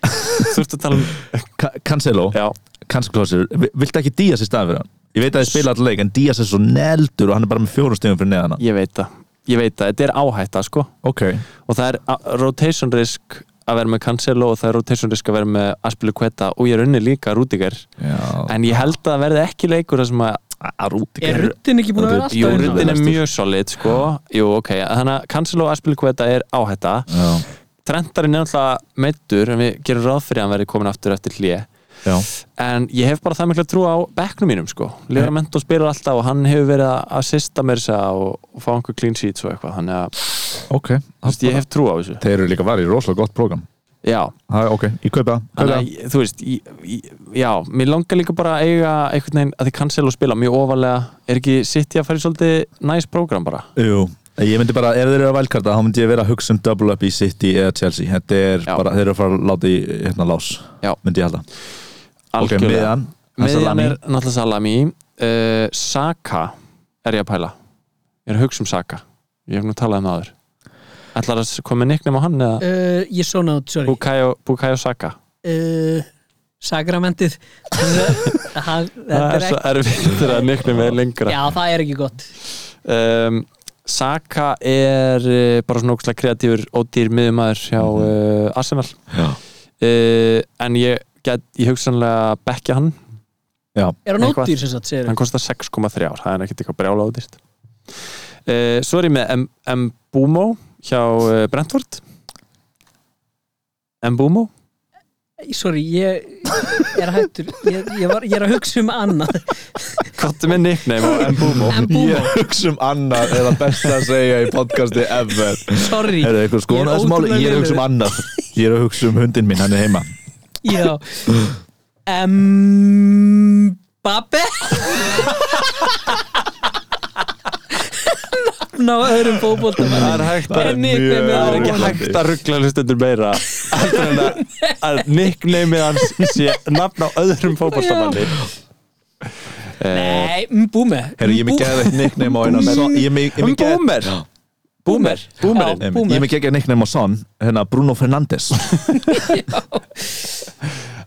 D: Þurftu að tala um
E: Ka- Cancelo
D: [LAUGHS] Já,
E: Cancelo, vi- viltu ekki Díaz í staðan fyrir hann? Ég veit að þið spila alltaf leik, en Díaz er svo neldur og hann er bara með fjórum stegum fyrir neðan hann
D: ég veit það Ég veit það, þetta er áhætta sko
E: Ok,
D: Og það er a- rotation risk að vera með Cancelo og það er rotation risk að vera með Aspilicueta og ég er unni líka Rúdiger
E: já
D: En ég held að það verði ekki leikur þar sem að
C: Er ruddin ekki búin að vera
D: Jú,
C: alltaf inn á?
D: ruddin er mjög solid sko Jú, ok, þannig að Cancelo og Aspilicueta er áhætta
E: Já,
D: Trentarinn er náttúrulega meittur en við gerum ráð fyrir að hann verði komin aftur eftir hlýja
E: já
D: en ég hef bara það mikla trú á bekknum mínum sko, Leramento spilar alltaf og hann hefur verið að assista mér þess að og, og fá einhver clean sheets og eitthvað þannig að
E: Ok,
D: þú veist, ég hef trú á þessu
E: þeir eru líka varðið í rosalega gott program
D: já,
E: Hæ, ok, ég kaupa það
D: þannig
E: kaupa
D: að ég- þú veist ég, ég, já, mér langar líka bara að eiga einhvern veginn að þið cancel og spila mjög ofalega er ekki sitt ég að fara í svolítið næs prógram bara,
E: það. Jú, ég myndi bara, ef þeir eru að velkarta þá myndi ég vera að hugsa um double up í City eða Chelsea Þetta er
D: Já.
E: bara, þeir eru að fara að láta í hérna lás
D: Já.
E: myndi ég halda Ok,
D: algjörlega
E: miðan, hans að
D: meðan
E: lami
D: er náttúrulega Salami uh, Saka er ég að pæla ég er að hugsa um Saka ég hef nú talað um það áður ætlar að koma með nicknum á hann eða
C: Uh, ég svona át, sorry
D: Bukayo, Bukayo Saka
C: uh,
D: [LAUGHS]
C: Sakramentið Það
D: það
C: þetta
D: er
C: er
D: svo
C: ekki
D: erfitt þegar nýknum er lengra
C: Já, það er ekki gott
D: um, Saka er uh, bara svona ógustlega kreatífur og dýr miðumæður hjá
C: Mhm.
D: uh, Arsenal
E: Já.
D: uh, en ég get, ég hugsanlega bekkja hann,
C: Er hann
D: Eitthvað.
C: ódýr sem sagt, segir
D: hann kostar 6,3 ár það er ekkert eitthvað brjála ódýrt uh, svo er ég með M- Mbumo hjá uh, Brentford Mbumo
C: Sorry, ég, ég er hættur ég, ég, var, ég er að hugsa um annað
D: kottu með nickname á
E: [LAUGHS]
D: Mbumo
C: En búma,
E: Ég hugsa um annað eða best að segja í podcasti ever
C: sorry
E: Er það eitthvað skoðan
C: Ég
E: að
C: er
E: þessu máli?
C: ótrúlega
E: Ég
C: lélegur.
E: er að hugsa um annað Ég er að hugsa um hundin minn, hann er heima
C: Já Mbappe Nafn á öðrum fótboltum
D: það er hægt að
C: er nickname
D: Það
E: mjög
D: er
C: á
D: ekki
E: óþolandi.
D: hægt að ruggla hlustendur meira heldur en að- að nicknameið hans sé nafn á öðrum fótballamanni Eh,
C: Nei, Mbúme
E: Herru, ég er með geðveitt nickname á eina Son- Ég er með- ég er
D: Um
E: með geð-
D: boomer Boomer Boomerinn
E: Nei,
C: Boomer.
E: Ég er með geggja nickname á son, hérna Bruno Fernandes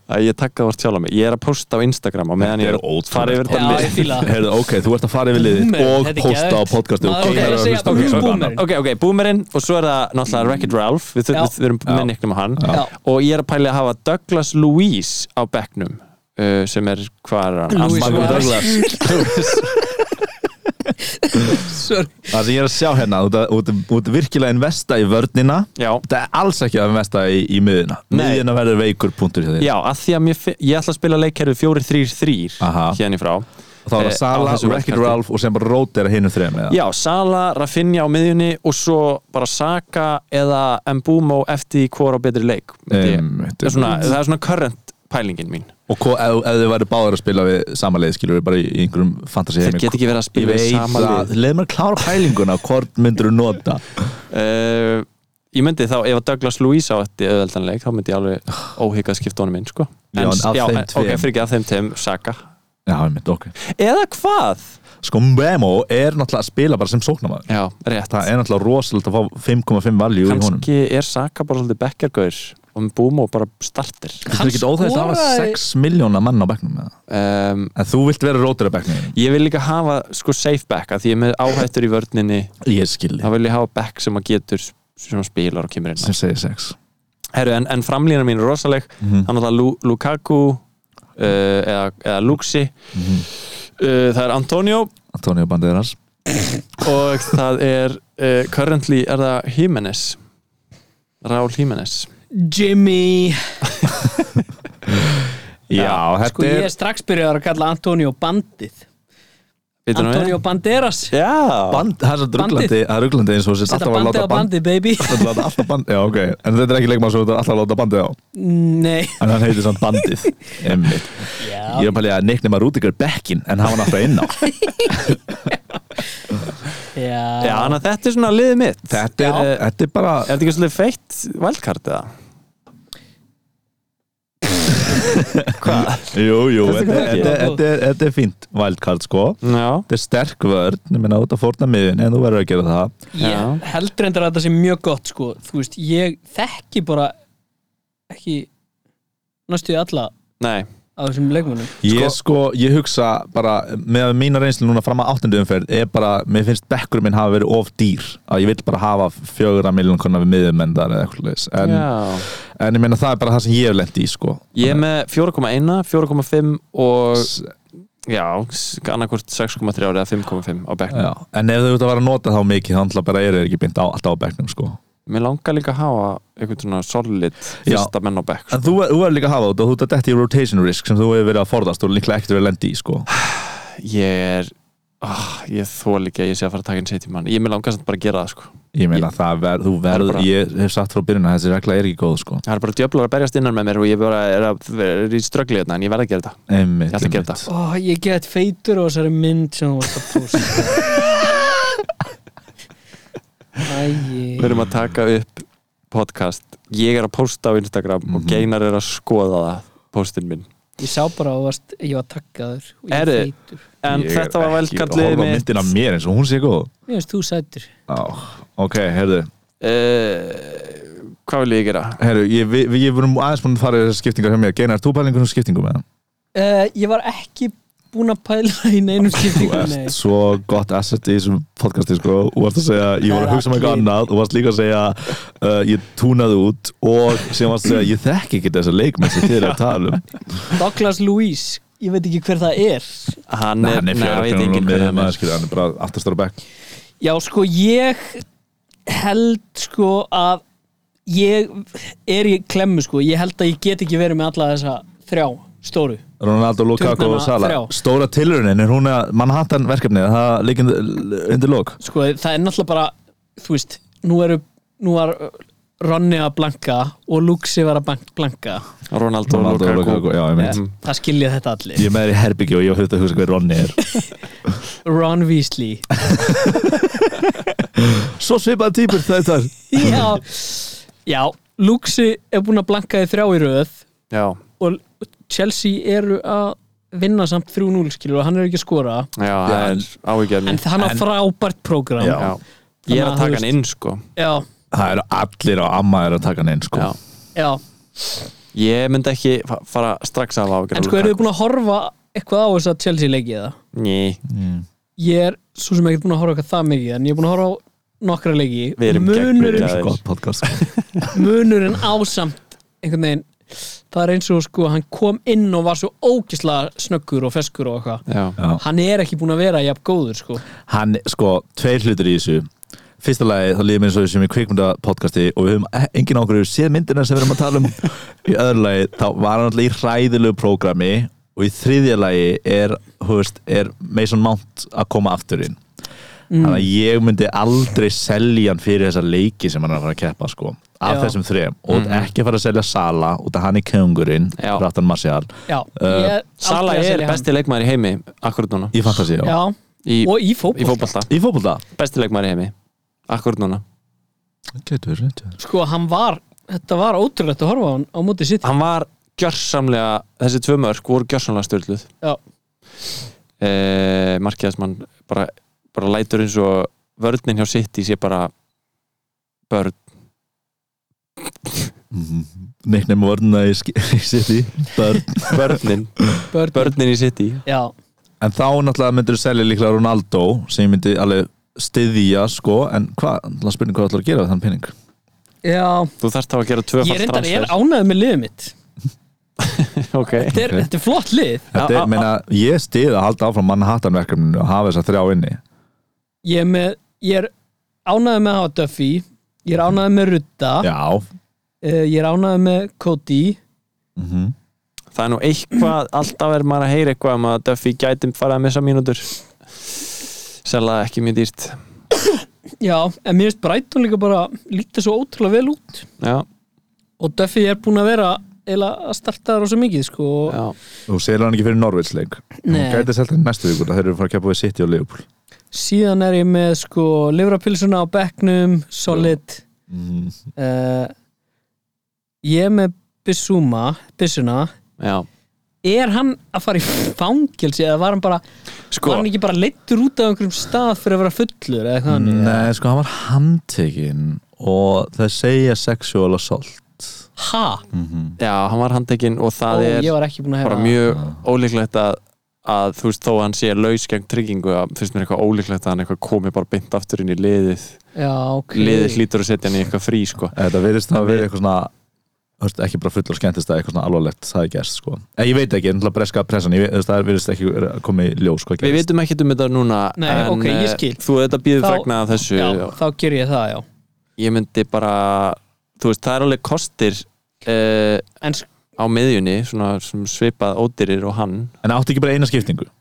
D: Æ, Ég takka það vart sjálf á mig Ég er að posta á Instagram og meðan ég er að fara yfir
C: Já,
D: þetta
C: ég
D: lið
C: fíla það.
E: Herðu, ok, þú ert að fara yfir liðið
C: Boomer,
E: og
C: þetta er
E: posta á
C: geðveikt.
E: podcasti og
C: Maður- ok,
E: geinar að
C: segja
E: hlusta á
C: bara
E: hlusta á
C: boomer.
E: annað.
D: Ok, ok, boomerinn og svo er það náttúrulega Wreck-It Ralph við,
C: Já.
D: við, við erum með
E: Já.
D: nicknum á hann
C: Já.
D: og ég er að pæli að hafa Douglas Louise á bekknum uh, sem er, hvað er hann?
C: Louis
E: Magnús
C: Suarez.
E: Douglas.
C: Oh, Sorry
E: Það sem ég er að sjá hérna, þú ert- þú ert- þú ert virkilega investa í vörnina
D: Já
E: Þetta er alls ekki að investa í, í miðina
D: Nei.
E: Miðina verður veikur punktur hjá þér
D: Já, að því að mér, fi- ég ætla að spila leikkerfi 4-3-3
E: Aha.
D: hérna í frá
E: Og Þá er
D: Eh,
E: það
D: á
E: Sala,
D: þessu
E: Wreck-It
D: wildcardi.
E: Ralph og sem bara rótera hinum þrejum eða?
D: Já, Sala, Rafinha á miðjunni og svo bara Saka eða Mbumo eftir í hvora á betri leik myndi ég.
E: Einmitt,
D: það, er svona, það er svona current pælingin mín
E: Og hvo- ef, ef þið væri báður að spila við sama leið skilur við bara í, í einhverjum fantasi
D: Þeir geta ekki verið að spila við sama lið.
E: Leð mér að klára pælinguna, hvort myndur þú nota
D: uh, Ég myndi þá, ef að Douglas Luís á eftir auðveldan leik þá myndi ég alveg óhygg að skipta honum inn sko.
E: Ah. Já, en af þeim
D: Ok,
E: tveim.
D: fyrir ekki af þeim tveim, Saka
E: Já, ég myndi, ok
D: Eða hvað?
E: Sko Mbemo er náttúrulega að spila bara sem sóknamaður
D: Já, rétt
E: Það er náttúrulega rosalegt að fá 5,5 valjú í honum
D: Kanski er Saka bara svolítið bekkergaur og Mbumo bara startir
E: Þetta er ekki óþægt að hafa
C: skoraði-
E: 6 miljóna mann á bekknum með það
D: um,
E: En þú vilt vera rótur á bekknum
D: Ég vil líka hafa sko safe back að því ég er með áhættur í vörninni
E: Ég skilji
D: þá vil ég hafa back sem að getur sem að spilar og kemur inn á.
E: sem segir 6
D: Herru, en, en framlína mín er rosaleg
E: Mhm.
D: hann er það Lu Lukaku uh, eða, eða Luxi
E: Mhm.
D: uh, það er Antonio
E: Antonio Banderas
D: og það er uh, currently er það Jimenez Raúl Jimenez
C: Jimmy
E: Já, þetta
C: Sko ég er strax byrjaður að kalla Antonio Bandið
D: Veitir nú
C: Antonio
D: við?
C: Banderas
D: Já,
E: band, Það er svo druglandi,
C: Bandið.
E: það er ruglandi eins og þú sért
C: Þetta
E: alltaf að
C: bandið
E: láta
C: á
E: band
C: bandið, [LAUGHS] baby
E: Þetta er [LAUGHS] alltaf band, já ok En þetta er ekki leikmann sem þú ert alltaf að láta bandið á
C: Nei
E: En hann heitir samt bandið
C: [LAUGHS]
E: Einmitt. Ég er bara að neikna maður út ykkur bekkin En hafa hann alltaf
C: [LAUGHS]
E: inn á
D: Já,
C: Já,
D: þannig að þetta er svona liðið mitt
E: Þetta er, eh,
D: Já.
E: þetta er bara
D: Er þetta ekki svolítið feitt valdkart eða? Hvað?
E: Jú, jú,
C: Þetta
E: þetta
C: er
E: er- þetta er- þetta er- þetta er fínt wildcard sko
D: Já,
E: Þetta er sterk vörn, ég meina út að fórna miðin en þú verður að gera það
D: Já.
C: Ég held reyndar að þetta sé mjög gott sko. Þú veist, ég þekki bara ekki næstu í alla
D: nei
C: á þessum leikmönnum
E: Ég sko, ég hugsa bara með mína reynslu núna fram að áttundu umferð er bara, mér finnst bekkurum minn hafa verið of dýr að ég vil bara hafa fjögurra miljón konar við miðum en það er eitthvað leis en,
D: Já.
E: en ég meina það er bara það sem ég hef lent í sko
D: Ég er með 4,1, 4,5 og
E: S-
D: já, annarkvort 6,3 eða 5,5 á bekknum
E: Já, en ef þú ert að vera að nota þá mikið þá ætla bara eru þeir ekki beint á, alltaf á bekknum sko
D: Mér langar líka að hafa einhvern svona solid fyrsta menn á bekk sko.
E: En þú er- þú verður líka að hafa þetta og þú ert að detti í rotation risk sem þú hefur verið að forðast og líklega ekkert verið að lendi í sko
D: Ég er, ah, ég þól ekki að ég sé að fara að taka inn setjum mann Ég mér langar samt bara að gera það sko
E: Ég meina það ver, þú verður,
D: bara-
E: ég hef sagt frá byrjun að þessi regla er ekki góð sko
D: Það er bara djöflar að berjast innan með mér og ég bara er, að, er í ströggli hérna en ég verð að gera þetta
E: einmitt,
D: Ég ætla að gera
E: einmitt.
D: þetta
C: Ó, Ég get feitur og þessari mynd sem þú varst að posta [LAUGHS]
D: Við
C: Æi
D: erum að taka upp podcast Ég er að posta á Instagram
E: Mhm.
D: og Geinar er að skoða það postin minn
C: Ég sá bara að þú varst, ég var takkaður og ég
D: Eru-
C: er feitur
D: En
E: Ég er
D: þetta var
E: ekki að
D: velkallið
E: horfa á
D: mitt
E: myndina af mér eins og hún sé góð
C: Mér finnst þú sætur
E: Á, ok, herðu,
D: uh, Hvað vil ég gera?
E: herðu ég, við, við- ég vorum aðeins búin að fara í þessar skiptingar hjá mér Geinar, þú pælingur um skiptingum með
C: uh, Ég var ekki búinn að pæla í neinum
E: Þú
C: skiptingu nei.
E: ert svo gott asset í þessum podcasti sko Þú varst að segja, ég var að hugsa
C: Það
E: um
C: er
E: eitthvað
C: allir.
E: annað Þú varst líka að segja, uh, ég túnaði út Og sem varst að segja, ég þekki ekki þessa leikmenn sem þið er að tala um
C: Douglas Lewis, ég veit ekki hver það er
D: Hann er,
E: Hann er
D: neða, veit
E: fjörðarkvæmum
D: enginn
E: og
D: hver
E: miðum
D: hann er sko.
E: aðskilja Hann er bara aftastur á bekk
C: Já, sko, ég held sko að ég er í klemmu sko ég held að ég get ekki verið með alla þessa þrjá stóru
E: Ronaldo, Lukaku og
C: Turnana
E: Sala
C: þrjá.
E: Stóra tilurin, er hún að Manhattan verkefnið, það liggur undir lók
C: sko, það er náttúrulega bara þú veist, nú eru nú var Ronni að blanka og Luxi var að bank- blanka
D: Ronaldo,
E: Ronaldo og Lukaku, já, ég
C: Eh, það skilja þetta allir
E: Ég er með þér í herbyggi og ég höfði að hugsa hver Ronny er
C: Ron Weasley
E: Svo svipaða týpur þetta er
C: já, já Luxi er búin að blanka í þrjá í röð
D: Já,
C: og Chelsea eru að vinna samt 3-0 skilur og hann er ekki að skora
D: já, það er áhyggjörni
C: en hann á frábært prógram
E: Já.
D: Já, ég er
C: Þannig að
D: að
C: þú
D: taka hann
C: veist-
D: inn sko
C: já,
E: Það eru allir á amma er að taka hann inn sko
D: Já.
C: já.
D: Ég myndi ekki fa- fara strax að hafa ágjörn
C: en sko eru þið búin að horfa eitthvað á þess að Chelsea leikið það
D: Ný,
C: ég er svo sem ekkert búin að horfa eitthvað það mikið en ég er búin að horfa á nokkra leiki
D: Við erum
C: munurinn,
D: gegnbyrjaðir.
E: Gott podcast
C: munurinn ásamt einhvern veginn það er eins og sko hann kom inn og var svo ógislega snöggur og feskur og eitthvað
D: já,
E: Já.
C: hann er ekki búin að vera jafn góður sko
E: Hann, sko, tveir hlutir í þessu Fyrsta lagi, þá líðum eins og sem í kvikmynda podcasti og við höfum e- engin ákveður séð myndina sem við erum að tala um Í öðru lagi, þá var hann alltaf í hræðilegu prógrami og í þriðja lagi er, þú veist, er Mason Mount að koma aftur inn Þannig að ég myndi aldrei selja hann fyrir þessa leiki sem hann er að fara að keppa sko, af
C: Já.
E: þessum þrejum og mm. ekki að fara að selja Sala út af hann í kjöngurinn,
D: Já.
E: Rattan Marcial
C: já, ég er
D: Sala Uh,
C: aldrei að
D: er
C: selja hann.
D: besti leikmaður í heimi akkurat núna
E: í fantasi, já.
C: já,
D: Í,
C: og í
D: í
C: fótboll
D: fótbolta,
E: Í fótbolta
D: besti leikmaður í heimi akkurat núna
E: Getur, getur
C: sko hann var, þetta var ótrúlegt að horfa á hann á móti sitt
D: Hann var gjörsamlega, þessi tvö mörk voru gjörsamlega störluð
C: já,
D: eh, Markiðasmann bara, bara lætur eins og vörninn hjá City sé bara börn
E: Mhm. Nickname vorna í sk- [LAUGHS] í City Börn.
D: börnin,
C: börn,
D: börnin í City
C: já,
E: En þá náttúrulega myndur þú selja líklega Ronaldo sem ég myndi alveg styðja sko, en hvað, náttúrulega spurning hvað ætlar að gera við þann pinning
C: já
D: þú þarft þá að gera tvöfalt
C: ég reyndar er ánægð með liðið mitt
D: [LAUGHS] ok
C: þetta er,
E: Ok.
C: þetta er flott lið
E: Þetta
D: Já,
E: er,
D: já,
E: meina, ég styð að halda áfram Manhattan verkefninu og hafa þess að þrjá inni
C: ég er, með, ég er ánægð með að hafa Duffy ég er ánægð með Rudda uh,
E: Já,
C: ég er ánægð með Cody
E: Mhm.
D: það er nú eitthvað, alltaf er maður að heyra eitthvað um að Duffy gæti farið að missa mínútur selga ekki mjög dýrt
C: já, en mér finnst Brighton líka bara lítið svo ótrúlega vel út
D: já,
C: og Duffy er búin að vera eiginlega að starta rosa mikið sko og-
D: já,
E: þú selur hann ekki fyrir Norvits leik Hún
C: Nei.
E: gæti selta hann næstu vikur þegar þeir eru að fara að keppa við City og Liverpool
C: síðan er ég með sko livrapilsuna á bekknum, solid
E: mm.
C: Eh, uh, ég er með Bissuma Bissuna
D: já
C: er hann að fara í fangelsi eða var hann bara
D: Sko.
C: var hann ekki bara leittur út af einhverjum stað fyrir að vera fullur eða eitthvað hann
E: Nei, sko, hann var handtekinn og það segja sexual assault
C: ha,
E: Mhm.
D: Já, hann var handtekinn og
C: og
D: það er
C: ég var ekki búin að
D: bara
C: hefða
D: mjög ólíklegt að, að þú veist, þó að hann sé laus gegn tryggingu, að finnst mér eitthvað ólíklegt að hann eitthvað komi bara beint aftur inn í liðið
C: já, ok
D: liðið hlýtur að setja hann í eitthvað frí sko.
E: Þetta verðist að vera eitthvað svona hörst, ekki bara fullur skemmtist að eitthvað svona alvarlegt það er gerst sko. En ég veit ekki, ennlega breska pressan ég veit, þú veist, það verðist ekki vera að koma í ljós hvað
D: Við
E: gerist.
D: vitum ekkert um þetta núna
C: Nei,
D: en
C: ok, ég
D: eh,
C: skil.
D: þú þetta býður
C: Þá-
D: fregna af þessu
C: já, þá ger ég það, já
D: ég myndi bara þú veist, það er alveg kostir uh,
C: en sk-
D: á miðjunni svona, sem svipað ódýrir og hann
E: En áttu ekki bara eina skiptingu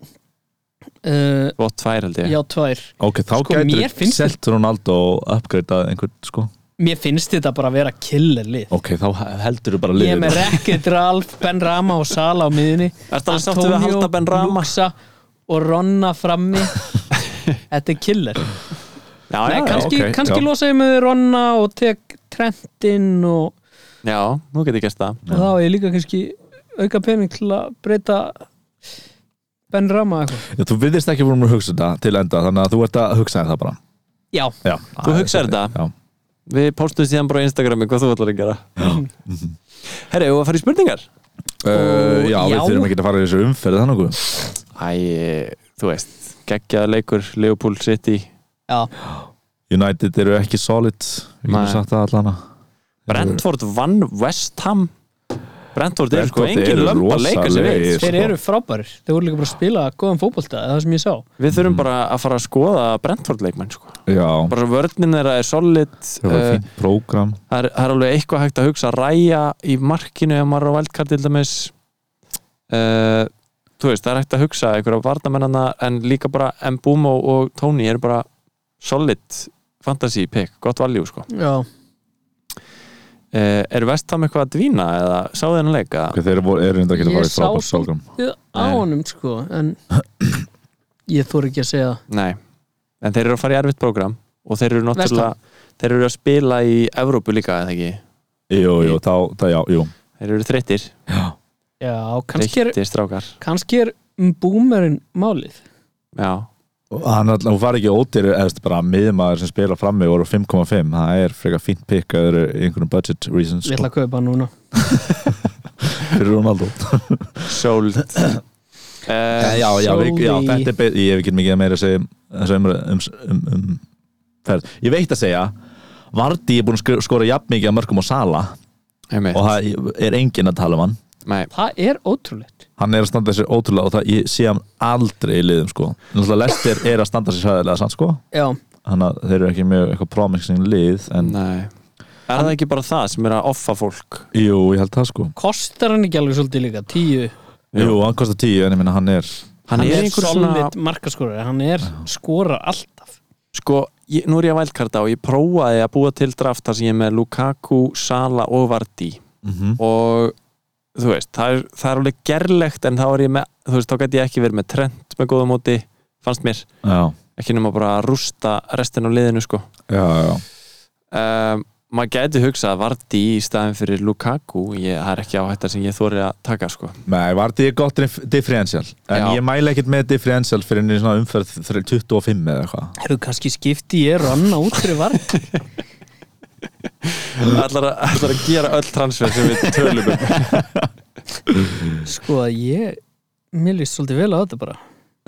C: uh,
D: og tvær held ég
C: já, tvær
E: Ok, þá
C: Sko, mér
E: gætur
C: finnst-
E: selt Ronaldo og upgradeað einhvern sko.
C: mér finnst þetta bara að vera killer lið
E: Ok, þá heldur þú bara
C: ég er
E: liðið
C: með Rekket, Ralf, Ben Rama og Sala á miðinni
D: Ertu alveg sáttur við að halda Ben Rama?
C: Luxa og Ronna frammi
D: [LAUGHS]
C: þetta er killer
D: já,
C: Nei,
D: já,
C: kannski,
E: ok,
C: kannski
E: já.
C: losa ég með Ronna og tek Trentin og,
D: já, já, nú get ég gert það
C: og þá er ég líka kannski auka pening til að breyta Ben Rama eitthvað
E: Já, þú virðist ekki voru að hugsa þetta til enda þannig að þú ert að hugsa um það bara
C: Já,
E: Já,
D: Þú hugsar þetta?
E: Já,
D: Við postum síðan bara á Instagrami hvað þú ætlar að gera [LAUGHS] Herri, og að fara í spurningar?
E: uh, já,
C: já.
E: við þurfum ekki að fara í þessu umferð þannig okkur
D: Æ, þú veist, geggjaða leikur Leopold City
C: já,
E: United eru ekki solid Við
D: Nei.
E: getum sagt það allana
D: Brentford vann West Ham Brentford er sko
E: Brentford
D: engin
E: eru
D: lömb að leika sér við
C: þeir
E: rosalegir. sko.
C: eru frábærir Þeir voru líka bara að spila góðan fótbolta eða Það sem ég sá
D: Við þurfum bara að fara að skoða Brentford leikmenn sko.
E: Já,
D: bara vörnin þeirra er solid
E: það var
D: eh,
E: fínt prógram
D: það er, það er alveg eitthvað hægt að hugsa ræja í markinu ef maður er á valdkart til dæmis uh, þú veist, það er hægt að hugsa einhverja varnamennana en líka bara Mbumo og Tony eru bara solid fantasy pick, gott valjú sko.
C: Já,
D: uh, er Vestham eitthvað að dvína eða sáðu þennan leika?
E: Ok, Þeir voru- eru reyndar ekki að
C: Ég
E: fara í
C: sá
E: frábært
C: svo-
E: prógram
C: Ég- á honum sko
E: [COUGHS]
C: En ég þór ekki að segja það.
D: Nei, en þeir eru að fara í erfitt prógram og þeir eru náttúrulega
C: Vestham.
D: þeir eru að spila í Evrópu líka eða ekki
E: Jú, jú, þá, það, já, jú
D: þeir eru þreyttir,
C: Já, kannski er,
D: þreyttir strákar
C: kannski er boomerinn málið
D: já,
E: Og Hann all- hún var ekki ódýru eða bara miðmaður sem spila frammi voru 5,5 það er frekar fínt pikk að eru einhvern budget reasons
C: Ég ætla
E: sko,
C: að kaupa hann núna
E: fyrir Ronaldo Eh,
D: sold
C: Eh,
D: uh,
E: já, já, við, já,
C: Sóley.
E: þetta er be- ég hef ekki mikið meira að segja um, þessa umræðu- um, um, um ferð. ég veit að segja Vardí er búin að skor- skora jafn mikið að mörgum og Sala og
D: einmitt,
E: það er enginn að tala um hann
D: nei
C: Það er ótrúlegt
E: hann er að standa sér ótrúlega og það, ég sé hann aldrei í liðum sko Náttúrulega Lester er að standa sér sæðilega sann sko
C: Já,
E: þannig að þeir eru ekki mjög eitthvað promising lið en
D: Nei. Er það ekki bara það sem er að offa fólk?
E: jú, ég held það sko
C: kostar hann ekki alveg svolítið líka tíu
E: jú, hann kostar 10 en ég minna hann er
D: Hann, er einhver svona,
C: solid markaskorari, hann er skorar alltaf
D: sko, ég, nú er ég að vælkarta og ég prófaði að búa til draft þar sem ég er með Lukaku, Sala og Vardí
E: mhm
D: og þú veist, það er, það er alveg gerlegt en þá er ég með, þú veist, þá gæti ég ekki verið með trend með góða móti, fannst mér
E: já,
D: ekki nema bara að rústa restin á liðinu sko
E: já, já
D: um, maður gæti hugsað að Vardí í staðin fyrir Lukaku, ég, það er ekki áhættar sem ég þori að taka sko
E: Nei, Vardí er gott dif- differential en
D: Já.
E: ég mæla ekkert með differential fyrir enn í svona umferð þr- 25 eða eitthvað
C: Eru kannski skipti ég ranna út fyrir
E: [LAUGHS]
C: varð
D: allar, að- allar að gera öll transfer sem við tölum um
C: Sko að ég, mér líst svolítið vel á þetta bara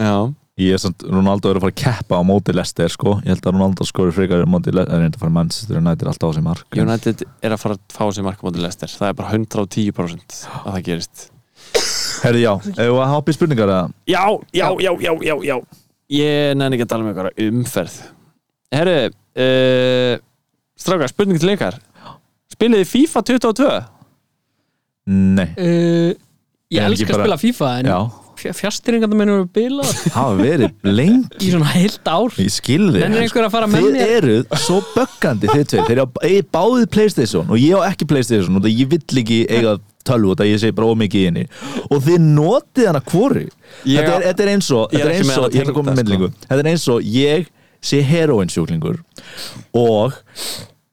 D: Já,
E: Ég er samt, Ronaldo er að fara að keppa á móti Lester sko, ég held að Ronaldo skori frekar á móti Lester, en reynda að fara Manchester United alltaf á sem mark
D: United er að fara að fá sér markamóti lestir það er bara 110% að það gerist
E: Herri já, hefur að hoppa í spurningar að
D: Já, já, já, já, já, já Ég nefn ekki að tala með eitthvað umferð Herru uh, Strákar, spurning til ykkar Spiliði FIFA 22?
E: Nei,
C: uh, Ég
E: Er ekki
C: elska að
E: bara-
C: spila FIFA en
E: já,
C: fjastiringarna minn eru bilað
E: hafa verið lengi
C: [LAUGHS] í svona heilt ár
E: Ég skil þig
C: Nennir einhver að fara með
E: Þið
C: mér?
E: eruð svo böggandi þið tveir Þeir eru báðið Playstation og ég á ekki Playstation og það ég vill ekki eiga tölvu og það ég segi bara ómikið inni og þið notið hana hvori
D: Ég-
E: þetta, er- þetta er eins og
D: Ég er
E: Þetta
D: ekki
E: er eins
D: með
E: og,
D: hana sko.
E: ég ætla að koma með
D: tengda,
E: myndlingu Þetta er eins og ég sé heroinsjúklingur og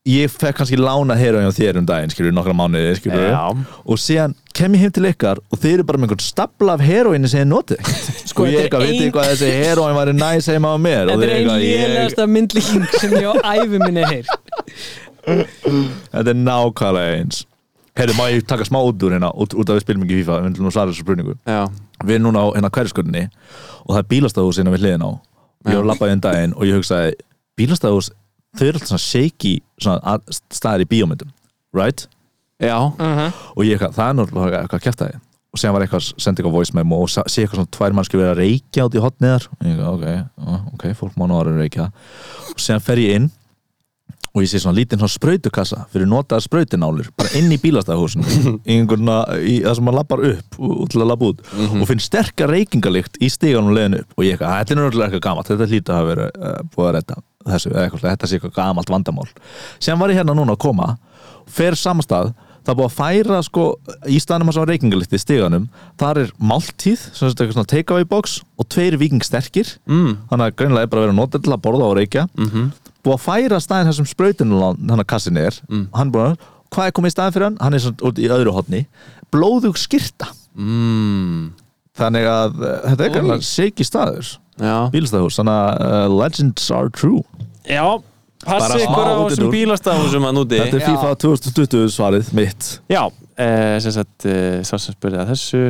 E: ég fekk kannski lánað hér á þér um daginn skilur, nokkra mánuði skilur
D: Já.
E: og síðan kem ég heim til ykkar og þeir eru bara með einhvern stapla af heroinni sem ég notið ekkert.
C: Sko,
E: og
C: þetta er
E: ég eitthvað, veit
C: ein-
E: ég hvað þessi heroin væri næs heima á mér og
C: Þetta
E: þeir
C: er ein
E: eitthvað, ég,
C: lélegasta myndlíking sem ég á
E: [LAUGHS]
C: æfi minni heyr
E: þetta er nákvæmlega eins Herðu, má ég taka smá út úr hérna út, út af við spilum ekki FIFA, við viljum nú svara þessu spurningu
D: já,
E: við erum núna á hérna hverjasköldinni og það er bílastæðhús innan við hliðin á og ég var lappaði einn um daginn og ég hugsaði bílastæðhús, þau eru alltaf svona shaky svona að- staðir í bíómyndum right?
D: já,
E: og ég eitthvað, það er náttúrulega eitthvað að kjæfta þið og síðan var eitthvað, sendi eitthvað voice memo og sa- sé eitthvað svona tvær mannski verið að reykja át í hotniðar og ég eitthvað, ok, já, ok, fólk má nú ára að reykja og síðan fer ég inn og ég sé svona lítinn svona sprautukassa fyrir notaða sprautinálur, bara inn í bílastæðahúsin í einhverna, í, það sem maður lappar upp og og til að lappa út og finn sterkar reykingalikt í stíganum leiðin upp og ég eitthvað, þetta er náttúrulega eitthvað gamalt þetta hlýta að hafa verið uh, búið að redda þessu, eða eitthvað, þetta sé eitthvað gamalt vandamál sem var ég hérna núna að koma fer samastað, það er búið að færa sko, í staðanum hans á reykingalikt í stíganum þar er máltíð, sem þetta er eitthvað svona takeaway box og tveir vikingsterkir mm. þannig að greinilega er bara verið að nota til að borða og reykja búið að færa staðin þessum sprautinu hann að kassin er
D: Mm.
E: hann búið að, hvað er komið í staðin fyrir hann hann er svona út í öðru hotni blóðug skyrta mm. þannig að uh, þetta er kannski seiki staður
D: já
E: bílstæðhús, þannig að uh, legends are true
D: já,
E: Bara
D: passi
E: smá
D: ykkur á
E: útidúr.
D: þessum bílastafum að núti
E: þetta er FIFA 2020 svarið mitt
D: já, eh, sem sagt eh, sá sem spurði að þessu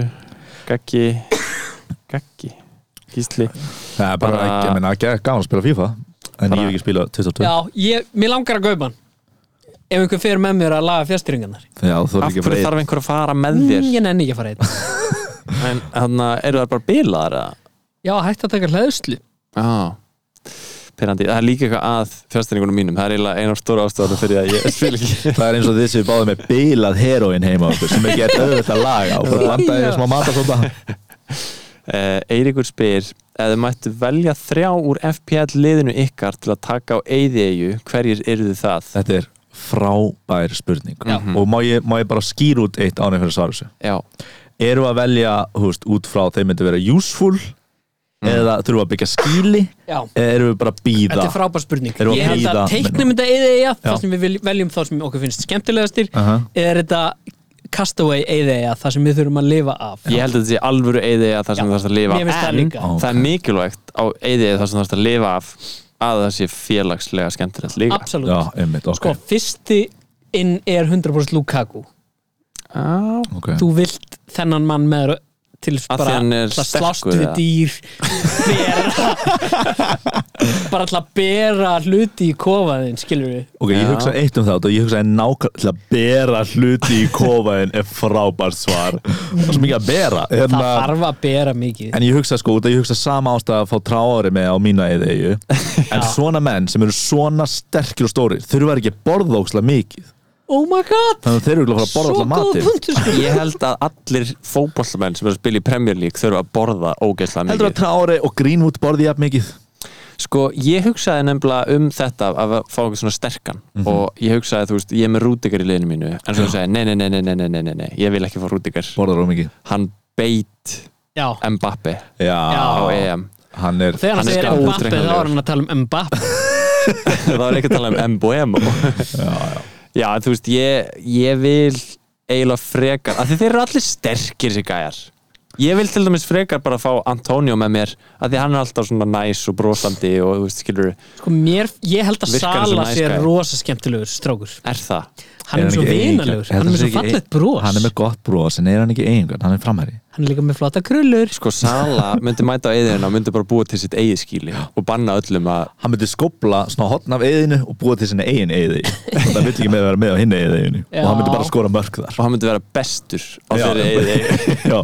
D: Gaggi [COUGHS] Gaggi, Gísli
E: það er bara
D: Bara-
E: ekki, ég meina ekki gaman að spila FIFA en
D: Bara-
E: ég hef ekki spila 2020
C: Já, ég, mér langar að gaupa hann Ef einhver fyrir með mér að laga fjastringarnar
E: Já, þú er
D: af
E: ekki
D: hverju
E: breið
D: þarf Mm, einhver að fara með þér
C: Ég nenni ekki að fara einn
D: en þannig eru það bara bílaðar eða?
C: Já, hægt að taka hlæðslu
D: Já Pyrrandi, það er líka eitthvað að fjárstæningunum mínum Það er eiginlega einar stóra ástæðan [LAUGHS] fyrir að ég spil ekki
E: [LAUGHS] það er eins og þið séu báðið með bílað heroin heima á okkur sem ekki er auðvitað að
D: [LAUGHS]
E: laga og bara landa í
C: Já.
E: smá matasóta
D: uh, Eiríkur spyr Ef þið mættu velja þrjá úr FPL liðinu ykkar til að taka á eyðieyju Hverjir eru þið það?
E: Þetta er frábær spurning og má ég, má ég bara skýra út eitt ánum fyrir að svara þessu
D: Já,
E: Erum við að velja húst, út frá þeir myndi vera useful eða þurfum við að byggja skýli
C: Já,
E: eða erum við bara að
C: þetta
E: býða
C: er frábær spurning
E: Erum við að
C: Ég held
E: bíða,
C: að teiknum
E: menn-
C: þetta eða eiga
E: Já.
C: Það sem við vil- veljum þá sem okkur finnst skemmtilegastir
E: Aha.
C: Eða er þetta castaway eða eiga Það sem við þurfum að lifa af
D: ég held að þetta sé alvöru eyðieyja þar sem
C: Já.
D: það þarfst að lifa
C: Mér finnst það líka.
D: En það er mikilvægt á eyðieyju þar sem það þarfst að lifa af að það sé félagslega skemmtilegt líka
C: Absolutt
E: Já, einmitt, ok,
C: Sko, fyrsti inn er 100% Lukaku
D: Já,
E: okay.
C: þú vilt þennan mann með þér til
D: Að því
C: bara
D: hann er
C: til að
D: sterkur,
C: slást við
D: eða?
C: dýr bera
E: [LAUGHS]
C: bara til að bera hluti í kofaðin skilur við
E: ok, ég
D: Já.
E: hugsa eitt um það og ég hugsa nákvæmlega til að bera hluti í kofaðin er frábært svar Það er svo mikið að bera
C: það
E: hérna,
C: þarf að bera mikið
E: En ég hugsa sko, út að ég hugsa sama ástæða að fá tráari með á mína eðeigju
C: [LAUGHS]
E: En svona menn sem eru svona sterkir og stórir þurfa ekki að borða ókslega mikið
C: oh my god,
E: Þannig að þeir eru örugglega að fara að
C: svo góð
E: borða alltaf matinn
C: punktur sko.
D: Ég held að allir fótbollamenn sem eru að spila í Premier League þurfa að borða ógeðslega mikið
E: Heldur að Traore og Greenwood borði jafn mikið
D: Sko, ég hugsaði nefnilega um þetta að fá eitthvað svona sterkan og ég hugsaði, þú veist, ég er með Rúdikar í liðinu mínu en svo hugsaði, nei, nei, nei, nei, nei, nei, nei, nei, nei ég vil ekki fá Rúdikar
E: Borðar of mikið
D: hann beit
C: já,
D: Mbappe
E: Já,
D: á
C: Já.
D: EM
E: hann er
C: þegar
D: Hann
C: hann
D: er
C: segir
D: skapandi
C: Mbappe þá
D: óútreiknanlegur.
C: er hann að tala um Mbappe
D: það var ekki að tala um Mboemo já, já Já, en þú veist, ég, ég vil eiginlega frekar, af því þeir eru allir sterkir sér gæjar Ég vil til dæmis frekar bara fá Antonio með mér af því hann er alltaf svona næs og brosandi og þú veist, skilur,
C: sko, mér, ég held að
D: Virkar hann
C: Sala
D: sem
C: sé
D: næs gæi?
C: rosa skemmtilegur strákur
D: er það?
C: hann er, er svo
E: ekki
C: vinalegur,
E: eigingjörn?
C: hann er með svo
E: Heldur hann sé ekki
C: fallegt
E: ein-
C: bros
E: Hann er með gott bros, en er hann ekki eigingar, hann er framherri
C: hann er líka með flotta krullur
D: Sko, Sala myndi mæta á eðina og myndi bara búa til sitt eigið skýli og banna öllum að
E: Hann myndi skopla svona hotn af eðinu og búa til sinna eigin
C: [LAUGHS]
E: eði og það myndi ekki með að vera með á hinni eðinu og hann myndi
C: Já.
E: bara skora mörg þar
D: og hann myndi vera bestur á
E: Já.
D: þeirri eigið eigið
E: [LAUGHS] Já.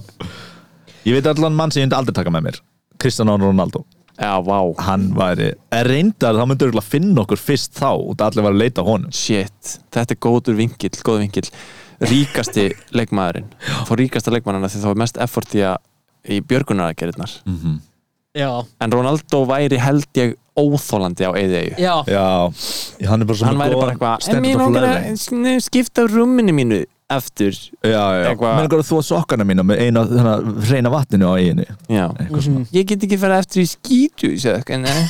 E: Ég veit allan mann sem ég myndi aldrei taka með mér Cristiano Ronaldo
D: Já, vá,
E: Hann væri, er reyndar það myndi örugglega finna okkur fyrst þá og það allir var að leita að honum
D: shit Þetta er góður vingill, góð vingill
E: [LAUGHS]
D: Ríkasti leikmaðurinn Fór ríkasta leikmannana því það var mest effort í, að í björgunaragerirnar
E: Mm.
C: já,
D: En Ronaldo væri held ég óþólandi á eigið
C: já,
E: Já, hann er bara svona
D: Hann væri
E: góðan
D: bara eitthvað En
E: standard
D: mér
E: of
D: langar að
E: living."
D: sn- skipta rúminu mínu eftir
E: Já, já,
D: eitthvað-
E: mér langar að þú að sokkana mína með eina hana, reyna vatninu á eiginu
D: Já
E: Eitthvað
C: Mhm.
E: svona
D: Ég get ekki fara eftir í
C: [LAUGHS]
D: skítu sagði, hann, nei.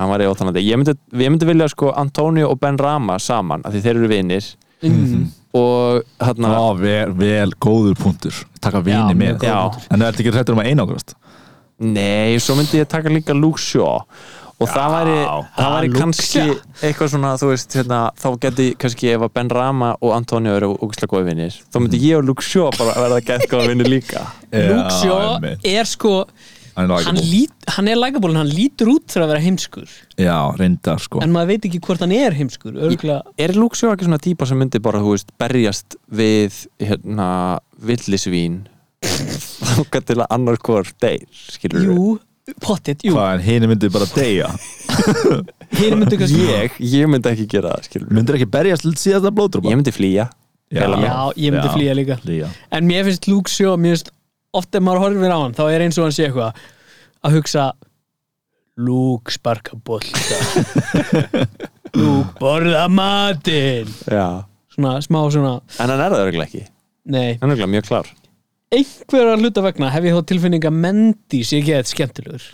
D: hann var óþanandi ég myndi, ég myndi vilja sko Antonio og Ben Rama saman af því þeir eru vinir
C: Mhm.
D: og hérna
E: Ná, vel, vel góður punktur Takka vini
C: Já, mjög
E: með
D: góður
E: Já.
D: punktur.
E: En það ertu ekki hrættur um að einangrast
D: Nei, svo myndi ég taka líka Luke Shaw og það væri, það
C: ah,
D: væri
C: Luke
D: kannski
C: Shaw.
D: eitthvað svona, þú veist, hérna, þá geti kannski ef að Ben Rama og Antonio eru ógustlega góði vinnir, þá
C: Mhm.
D: myndi ég og Luke Shaw bara verða gett góði vinnir líka
C: Luke Shaw
E: einmitt.
C: er sko
E: Hann er
C: hann,
E: likeable.
C: lít, hann er lagaból en hann lítur út þegar að vera heimskur
E: Já, reyndar sko
C: en maður veit ekki hvort hann er heimskur örgulega
D: Er Luke Shaw ekki svona típa sem myndi bara, þú veist, berjast við, hérna, villisvín þá geti til að annar hvort deyr, skilur
C: Jú, pottit, jú,
E: Hvað, en hinn myndi bara deyja
C: hér myndi kannski
D: Ég, ég myndi ekki gera það, skilur
E: Myndir ekki berjast lítið síðasta blóðdrupa
D: Ég myndi flýja
E: Já.
D: fela mig.
C: Já, ég myndi
E: Já.
C: flýja líka
E: Lía.
C: En mér finnst Luke Shaw, mér finnst oft ef maður horfir á hann, þá er eins og hann sé eitthvað að hugsa Luke sparka bolta [LAUGHS] Luke borða matinn
D: Já.
C: Svona smá svona,
D: En hann er það örgulega ekki
C: nei
D: Hann er örgulega mjög klár
C: einhverja hluta vegna hef ég þá tilfinninga Mendy sé ekki eitthvað skemmtilegur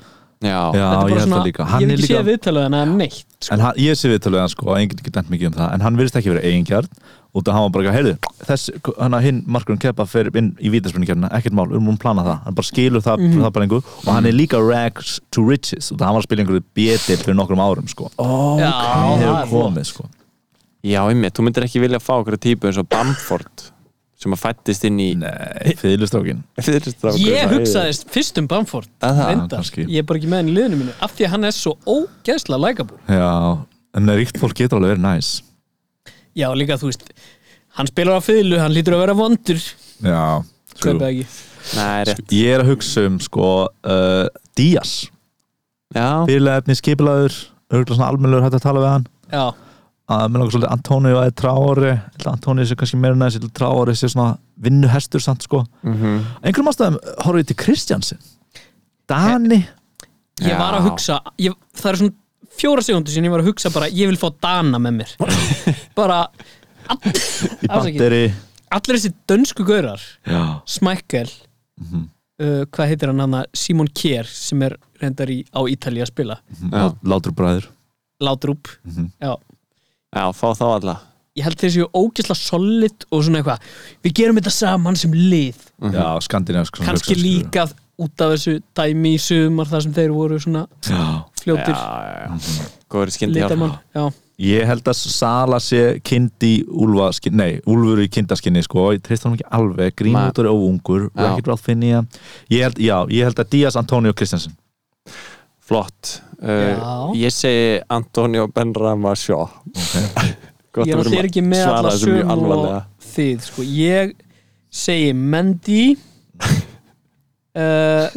D: Já,
E: Já,
C: Þetta er bara
E: ég held það líka
C: Ég
E: Hann
C: hef
E: er
C: ekki
E: líka
C: séð viðtalið hann að neitt sko.
E: En hann, ég sé viðtalið hann sko, enginn getur dæmt mikið um það en hann virðist ekki verið eigingjart út af hann var bara, heyrðu, þess, hann að hinn markurinn kepa fyrir inn í vítaspunningjarna, ekkert mál við erum um að plana það, hann bara skilur það,
C: Mhm.
E: það bara einhver, og hann er líka rags to riches út af hann var að spila einhverju bjetil fyrir nokkrum árum sko, og
C: Já, það
E: hann
C: er
E: hefur
C: flott.
E: komið sko
D: Já, einmitt, þú myndir ekki vilja fá okkur típu eins og Bamford sem að fættist inn í
E: Nei, fyrirlistrákin
D: fyrirstrákur
C: Ég hugsaðist fyrst um Bamford
D: Að það,
C: reyndar.
E: kannski.
C: Ég er bara ekki með hann í liðinu mínu af því að hann er svo ógeðslega lækabú
E: Já, en ríkt fólk getur alveg verið næs
C: Já, líka þú veist Hann spilar á fiðlu, hann lítur að vera vondur
E: Já, true.
C: Kaupa ekki
D: Nei, rétt
E: Sko, Ég er að hugsa um sko uh, Díaz,
D: Já,
E: fyrirlega efni skipilagur, örgulega svona almennlegur hægt að tala við hann
C: Já,
E: að mér langar svolítið Antóni og að Tráori Antóni sé kannski meira næst Tráori sé svona vinnuhestur samt sko einhverjum ástæðum horfum við til Kristjansin Dani
C: ég
D: Já.
C: var að hugsa ég, Það er svona fjóra segundu sinni ég var að hugsa bara Ég vil fá Dana með
D: [LAUGHS]
C: mér Bara all,
E: í
C: afsakið.
E: batteri
C: Allir þessi dönsku gaurar
E: já,
C: Smækkel
D: Mhm.
C: uh, Hvað heitir hann hann Simon Kjær sem er reyndar í, á Ítalíu að spila
E: já. látur bræður
C: Látrúp
D: Mhm.
C: Já
D: já, fá þá alla
C: Ég held þeir séu ógeðslega solid og svona eitthvað Við gerum þetta saman sem lið
E: já, sko. skandinavisk svona
C: kannski
E: hugsun, skilur.
C: líka út af þessu dæmi í sumar þar sem þeir voru svona
E: já.
D: Já,
C: fljótir
D: já, já Góður skyndi
C: litamann já.
E: ég held að Sala sé kind í úlfaskinni, nei, úlfur í kindaskinni sko, ég treyst honum ekki alveg grínútur og ungur,
D: Já.
E: ekkert ráð finn ég ég held, já, ég held að Díaz, Antóni og Kristjansin
D: Flott uh, Ég segi Antonio Benrama Sjó [LAUGHS]
C: ég er alltaf ekki með alla sum og þið sko. ég segi Mendy uh,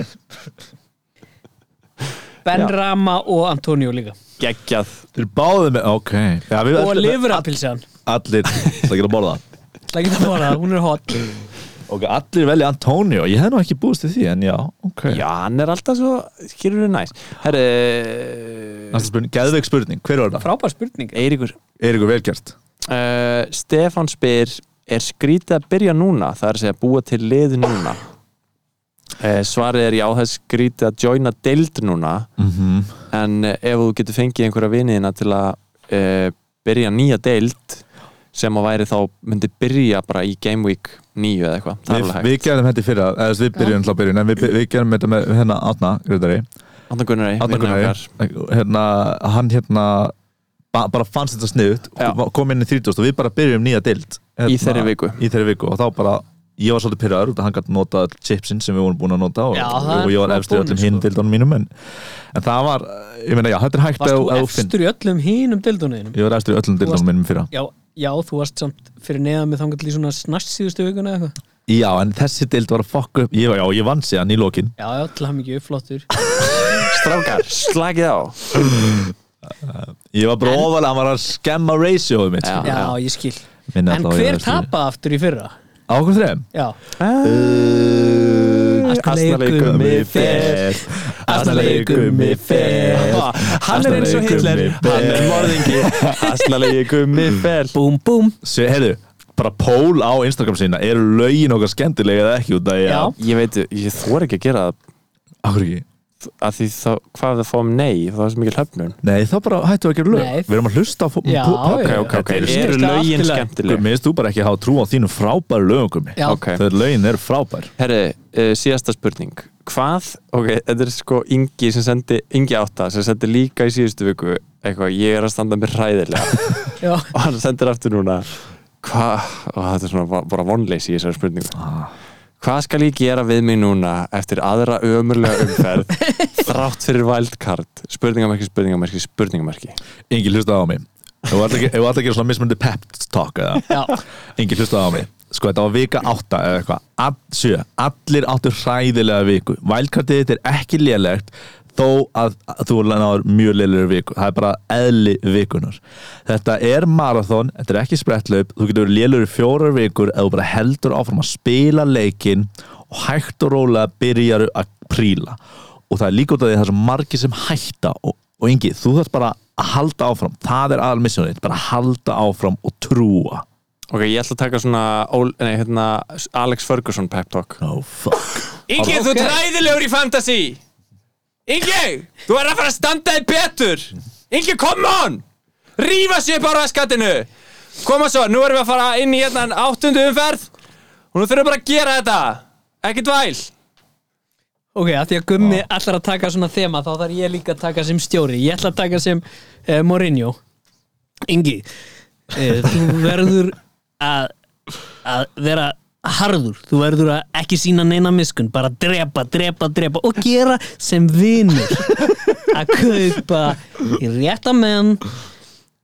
C: Ben
D: Já.
C: Rama og Antonio líka
D: Geggjað
E: þeir báðu með, ok já, við,
C: og Livrapilsan
E: allir, það getur að borða
C: það geta bara, hún er hot
E: Ok, allir velja Antonio, ég hef nú ekki búist til því en já, ok
D: Já, hann er alltaf svo, skilur við næs Herri,
E: Næsta spurning, geðveik spurning, hver var það?
C: frábær spurning
D: Eiríkur
E: Eiríkur velgjart
D: uh, Stefan spyr er skrítið að byrja núna það er að segja búa til lið núna uh, svarið er já það er skrítið að joina deild núna
E: mm -hmm.
D: en uh, ef þú getur fengið einhverja viniðina til að uh, byrja nýja deild sem að væri þá myndi byrja bara í Game Week 9 eða eitthvað það er
E: við,
D: alveg
E: við
D: hægt
E: gerðum þetta í fyrra, eða þess, við byrjum hlá byrjun en við, við gerðum þetta með hérna Átna Gröðari,
D: Átna Gunnari,
E: Átna
D: vinur okkar.
E: Gröðari hérna, hann hérna ba bara fannst þetta sniðut
D: Já.
E: kom inn í 30 og við bara byrjum nýja dild hérna,
D: Í þeirri viku.
E: í þeirri viku og þá bara ég var svolítið pyrraður út að hann gæti nota chipsin sem við vorum búin að nota og,
C: Já, það er
E: og ég var
C: bara
E: efstur í
C: bónus,
E: öllum hinn
C: sko.
E: dildunum mínum en, en það var, ég meina já, þetta er hægt
C: varst
E: ef-
C: þú
E: ef finnur-
C: efstur í öllum hinum deildunniðinum
E: Ég var eftir í öllum dildunum minnum fyrra
C: já, já, þú varst samt fyrir neðan með þangat í svona snart síðustu vikuna eða eitthvað
E: Já, en þessi dild var að fokka upp Ég, já, ég vann síðan í lokin
C: já, já, til hann ekki flottur
D: Strákar, slagið á
E: Ég var bara ofalega, hann var að skemma ratioðu mitt sko.
C: Já, ég skil
E: Minna
C: En
E: þá að
C: hver
E: ég var efstur í-
C: tapaði aftur í fyrra?
E: Á okkur þreim
C: Já,
D: Eh, Uh,
C: Asna gummi fer,
E: Asnalegi gummi fer
D: Ha, Hann er eins og
E: Asnalegi
D: Hitler,
E: gummi fer.
D: hann er morðingi Asnalegi gummi fel
C: búm búm
E: Svo, heyrðu, bara pól á Instagram sína Eru lögin okkar skemmtilega eða ekki út að ég
C: Já.
D: Ég veit, ég þor ekki að gera það
E: Akkur ekki
D: að því þá, hvað við fáum nei þá er svo mikil höfnun
E: Nei, þá bara hættum við að gera lög
C: Nei.
E: Við erum að hlusta á fó-
C: Já,
E: pú-
C: já.
D: ok, ok, ok,
E: Þetta
C: er-
D: eru
E: eru-
C: skemmtilega
D: lögin
C: afturlega.
E: Guð,
D: skemmtileg
E: Mér finnst þú bara ekki að hafa trú á þínum frábæru lögum Gummi.
C: Já.
D: ok,
E: Þau lögin eru frábær
D: herri, uh, síðasta spurning hvað, ok, þetta er sko Ingi sem sendi, Ingi átta sem sendi líka í síðustu viku, eitthvað, ég er að standa mér hræðilega
C: Já.
D: og hann sendir aftur núna hvað, og þetta er svona bara vonleysi í þessari spurningu hvað skal ég gera við mig núna eftir aðra ömurlega umferð þrátt fyrir wildcard spurningamarki, spurningamarki, spurningamarki
E: Engi hlustaði á mig Ef þú ætlar að ge- ef þú ætlar að gera svona mismunandi pep talk eða
C: Já.
E: Engi hlustaði á mig Sko þetta var vika átta eða eitthvað All, sjö, Allir áttu hræðilega viku Vælkartið þitt er ekki lélegt Þó að að þú náður mjög lélegur viku Það er bara eðli vikunar Þetta er marathon, þetta er ekki sprettlaup Þú getur verið lélegur í fjórar vikur Eða þú bara heldur áfram að spila leikin Og hægt og rólega byrjaru að príla og það er líka út af því að það er svo margir sem hætta og, og yngi, þú þarf bara að halda áfram það er aðal misjónið, bara halda áfram og trúa
D: ok, ég ætla að taka svona Ól- nei, hérna, Alex Ferguson pep talk
E: oh fuck
D: Ingi, þú ert ræðilegur í fantasy Ingi, þú er að fara að standa þig betur Ingi, come on Rífa sér bara að skattinu Koma svo, nú erum við að fara inn í hérna áttundu umferð og nú þurfum við bara að gera þetta Ekkert væl
C: Ok, að því að Gummi ætlar að taka svona þema þá þarf ég líka að taka sem stjóri Ég ætla að taka sem uh, Mourinho Ingi uh, Þú verður að, að vera harður Þú verður að ekki sína neina miskun bara drepa, drepa, drepa og gera sem vinur að kaupa í rétta menn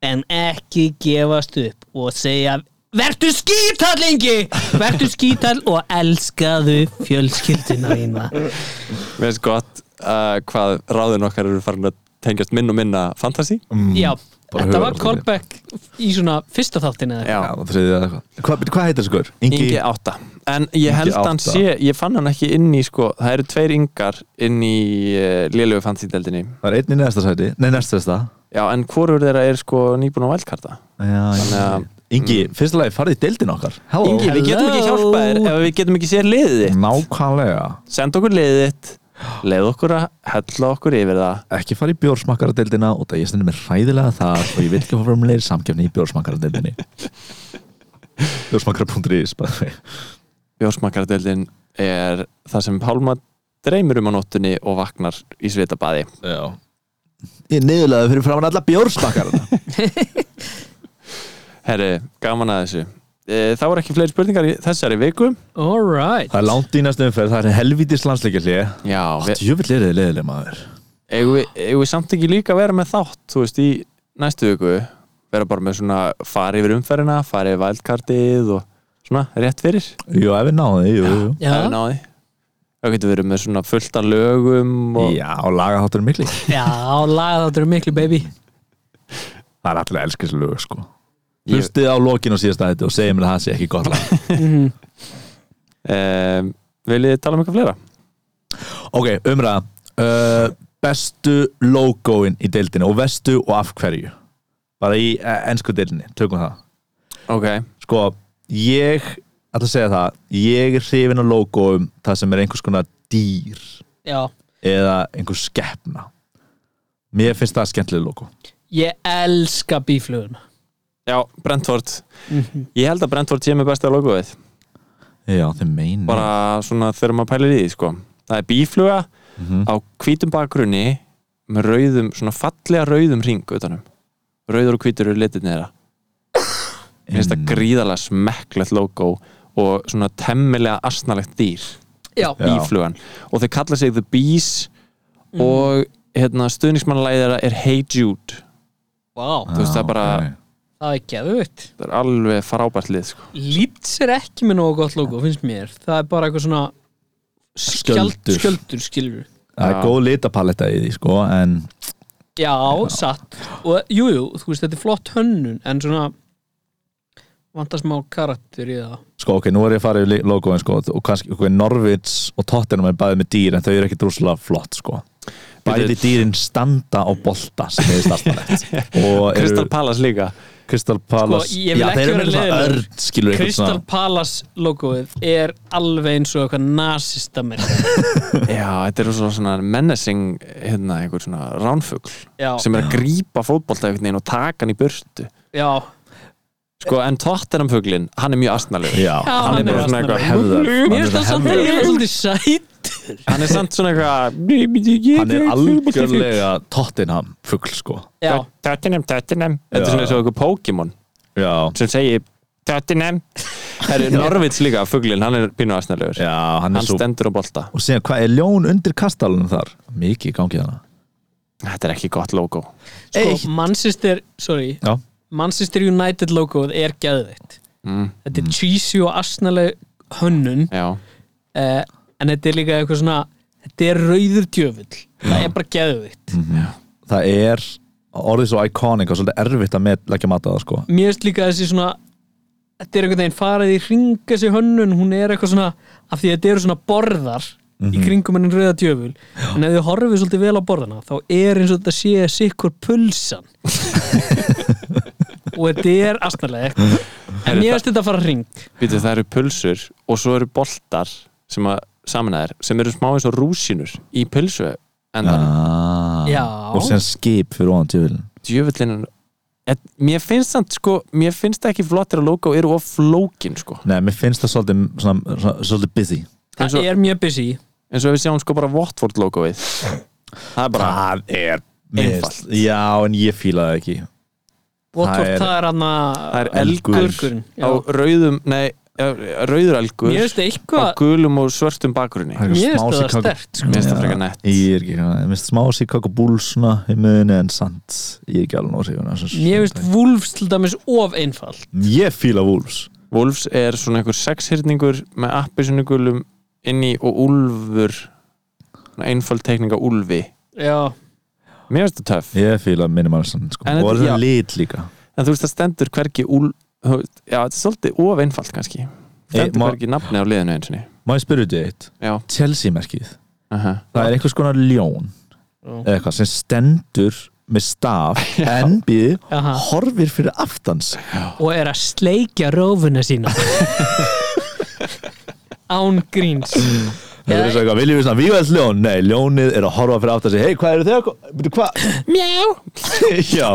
C: en ekki gefast upp og segja Vertu skítall, Ingi! Vertu skítall og elskaðu fjölskyldina þína.
D: Við veist gott uh, hvað ráðin okkar eru farin að tengjast minn og minna fantasy
E: Um,
C: Já,
E: Mm. bara
C: þetta var
E: höfuðástandið.
C: callback í svona fyrsta þáttin eða eitthvað.
E: Já, það þriðið eða eitthvað. Hva, byrju, hvað heitir þessi gaur?
D: Ingi átta En ég held að hann
E: átta.
D: sé, ég fann hann ekki inn í sko, það eru tveir yngar inn í uh, lélögu fantasy-deldinni
E: það er einn í næsta sæti, nei næsta sæta
D: Já, en hvorur þeirra er sko nýbúin á vælkarta? Þannig
E: já,
D: að-
E: Ingi, fyrsta lagi farið í deildin okkar Mm. Hello.
D: Ingi, við getum ekki
C: Hello.
D: hjálpað þér ef við getum ekki séð liðið þitt
E: nákvæmlega
D: Send okkur liðið þitt leið okkur að hella okkur yfir það
E: ekki farið í bjórsmakkaradeildina og það ég stendur mér hræðilega þar og ég vil ekki fara um leir samkefni í [LAUGHS] bjórsmakkaradeildinni bjórsmakkara.is by the way.
D: Bjórsmakardeldin er það sem Pálma dreymir um á nóttunni og vaknar í svitabaði
E: Já Ég niðurlega fyrir framann alla bjórsmakkarana
D: Herri, gaman að þessu Eh, Það voru ekki fleiri spurningar í þessari viku
C: All right.
E: [LAUGHS] Það er langt í næstu umferð, það er helvítis landsleikja hlið
D: Já, við,
E: Djöfull er þið leðilega maður
D: eigum við, eigum við samt ekki líka að vera með þátt, þú veist, í næstu viku vera bara með svona fara yfir umferðina fara yfir vældkartið og svona rétt fyrir
E: Jú, ef við náðum því, jú, jú
C: Já,
D: ef við náðum því. þá getum við verið með svona fullt af lögum og
E: Já, og lagaháttur er mikli
C: já laga þáttur er miklu baby.
E: Það er allir elskislega sko
D: Ég-
E: Hlustið á lokin og síðasta þetta og segið mér að það sé ekki gott lag
D: um, viljið þið tala um eitthvað fleira?
E: [LAUGHS] Ok, umræða uh, Bestu logoin í deildinni og vestu og af hverju Bara í uh, ennsku deildinni, tökum það
D: Ok,
E: sko, ég ætla að segja það, ég er hrifin á logo um það sem er einhvers konar dýr
C: Já,
E: eða einhver skeppna mér finnst það skemmtileg logo
C: ég elska bífluguna.
D: já, Brentford
C: Mhm.
D: Ég held að Brentford sé með besta logoið
E: Mm. já, þið meina
D: bara svona þegar maður pælir í því sko. það er bífluga
E: Mhm.
D: á hvítum bakgrunni með rauðum, svona fallega rauðum ring utanum, rauður og hvítur eru litirnir þeirra Mér finnst
E: Mm.
D: það gríðalega smekklegt logo og svona temmilega asnalegt dýr
C: Já,
E: Já. Mm.
D: bíflugan og þau kalla sig The Bees og hérna, stuðningsmannlæði þeirra er Hey Jude
C: vá,
D: þú veist, það er bara-
C: það er geðvitt.
D: það er alveg frábært lið sko.
C: Líts er ekki með nógu gott logo, finnst mér. Það er bara eitthvað svona skjald,
E: Skjöldur.
C: skjöldur skilur.
D: Já.
E: það er góð litapaletta í því sko en
C: Já, satt. Og jú, jú, þú veist, þetta er flott hönnun, en svona vantar smá karakter í það.
E: sko, ok, nú er ég að fara í logoin sko og kannski, ok, Norvits og Tottenham er bæðið með dýr en þau eru ekki drúslega flott sko
D: Bíddu.
E: bæði dýrin standa á bolta sem er stafnalegt og
D: Crystal
E: eru
D: Palace líka
E: Crystal Palace
C: Sko, ég vil
E: Já,
C: ekki
E: þeir eru
C: vera
E: með svona
C: leiðilegur.
E: örn skilur eitthvað
C: Crystal
E: svona
C: Palace logoið er alveg eins og eitthvað nasista mér
D: Já, þetta er svo svona menacing hérna, einhver svona ránfugl
C: Já,
D: sem er að grípa fótbolta einhvern veginn og taka hann í burtu
C: já
D: sko, en Tottenham fuglin, hann er mjög astnalegur
E: Já, hann er
D: bara svona
E: bara
C: asnalegur.
D: eitthvað
E: hefðar
C: Mér finnst það samt að ég er svolítið sætt
D: hann er samt svona eitthvað
E: Hann er algjörlega Tottenham fugl sko
C: Já,
D: Tottenham, Tottenham Þetta er svona eins og eitthvað Pokémon
E: Já,
D: sem segir
E: [LAUGHS]
D: Tottenham Það er Norvits líka, fuglin, hann er pínu astnalegur
E: já hann
D: hann
E: er svo
D: stendur á bolta
E: Og segja, hvað er ljón undir kastalunum þar? Mikið í gangi hana
D: Þetta er ekki gott logo
E: Eitt.
C: sko, Manchester, sorry
E: Já,
C: Manchester United logoið er gæðveitt
D: mm,
C: Þetta er cheesy og asnaleg hönnun
D: Já,
C: eh, en þetta er líka eitthvað svona þetta er rauður djöfull það er bara gæðveitt
E: það er orðið svo iconic og svolítið erfitt að met, leggja mat á það sko
C: Mér finnst líka þessi svona þetta er einhvern veginn farið í ringa sig hönnun hún er eitthvað svona, af því að þetta eru svona borðar
D: Mhm.
C: í kringum hennin rauða djöfull en ef þið horfið svolítið vel á borðana þá er eins og þetta sé sikkur
D: [LAUGHS]
C: pulsan og þetta er asnalegt en mér finnst þetta að fara hring
D: býtu, það eru pulsur og svo eru boltar sem að samanæðir, sem eru smá eins og rúsinur í pulsu endan
E: ah,
C: Já.
E: Og sem skip fyrir ofan tjöfilin
D: djöfullin Et, mér finnst það sko, mér finnst það ekki flottir að logo eru of flókin sko
E: Nei, mér finnst það svolítið, svona, svona, svolítið busy
D: eins
C: það
D: og,
C: er mjög busy
D: eins og við sjáum sko bara Watford logoið það er bara,
E: Það er
D: Einfalt.
E: mist. Já, en ég fíla það ekki
C: Watford,
E: er-
C: það er hann
D: það
C: að
D: er elgur
C: elgurinn, já.
D: á rauðum, nei, já, rauður elgur
C: mér finnst þetta
D: á
C: eitthvað
D: gulum og svörtum bakgrunni
E: er
C: Mér
E: eitthvað
C: finnst
E: smá
C: það
E: Chicago-
C: sterkt, sko.
D: Mér finnst það
E: Já,
D: frekar nett.
E: Ég er ekki, ég finnst smá Chicago Bulls svona í muni en sant Ég er ekki alveg nóg
C: Mér finnst Wolves til dæmis of einfald
E: Ég fíla Wolves
D: Wolves er svona einhver sexhyrningur með appisunugulum inni og úlfur svona einföld teikninga úlfi
C: Já,
D: mér finnst það töff
E: Ég fíla minimalistan sko.
D: En
E: Og
D: þetta-
E: það
D: já.
E: er lit líka
D: en þú veist það stendur hvergi úl þú veist, já, þetta er svolítið of einfalt kannski stendur
E: má-
D: hvergi nafni á liðinu eins og
E: Má ég spyrja þetta eitt?
D: Eh, já,
E: Chelsea-merkið
D: aha,
E: Það er einhvers konar ljón
C: Já.
E: eða eitthvað sem stendur með
C: [LAUGHS]
E: staf en býði
C: Aha.
E: horfir fyrir aftans
C: og er að sleikja rófuna sína Án gríns
E: Það er svo eitthvað, viljum við svona vívæðs ljón? Nei, ljónið er að horfa fyrir aftans hei, hvað eru þau að koma? Bíddu, hvað? [LAUGHS]
C: Mjá
E: Já,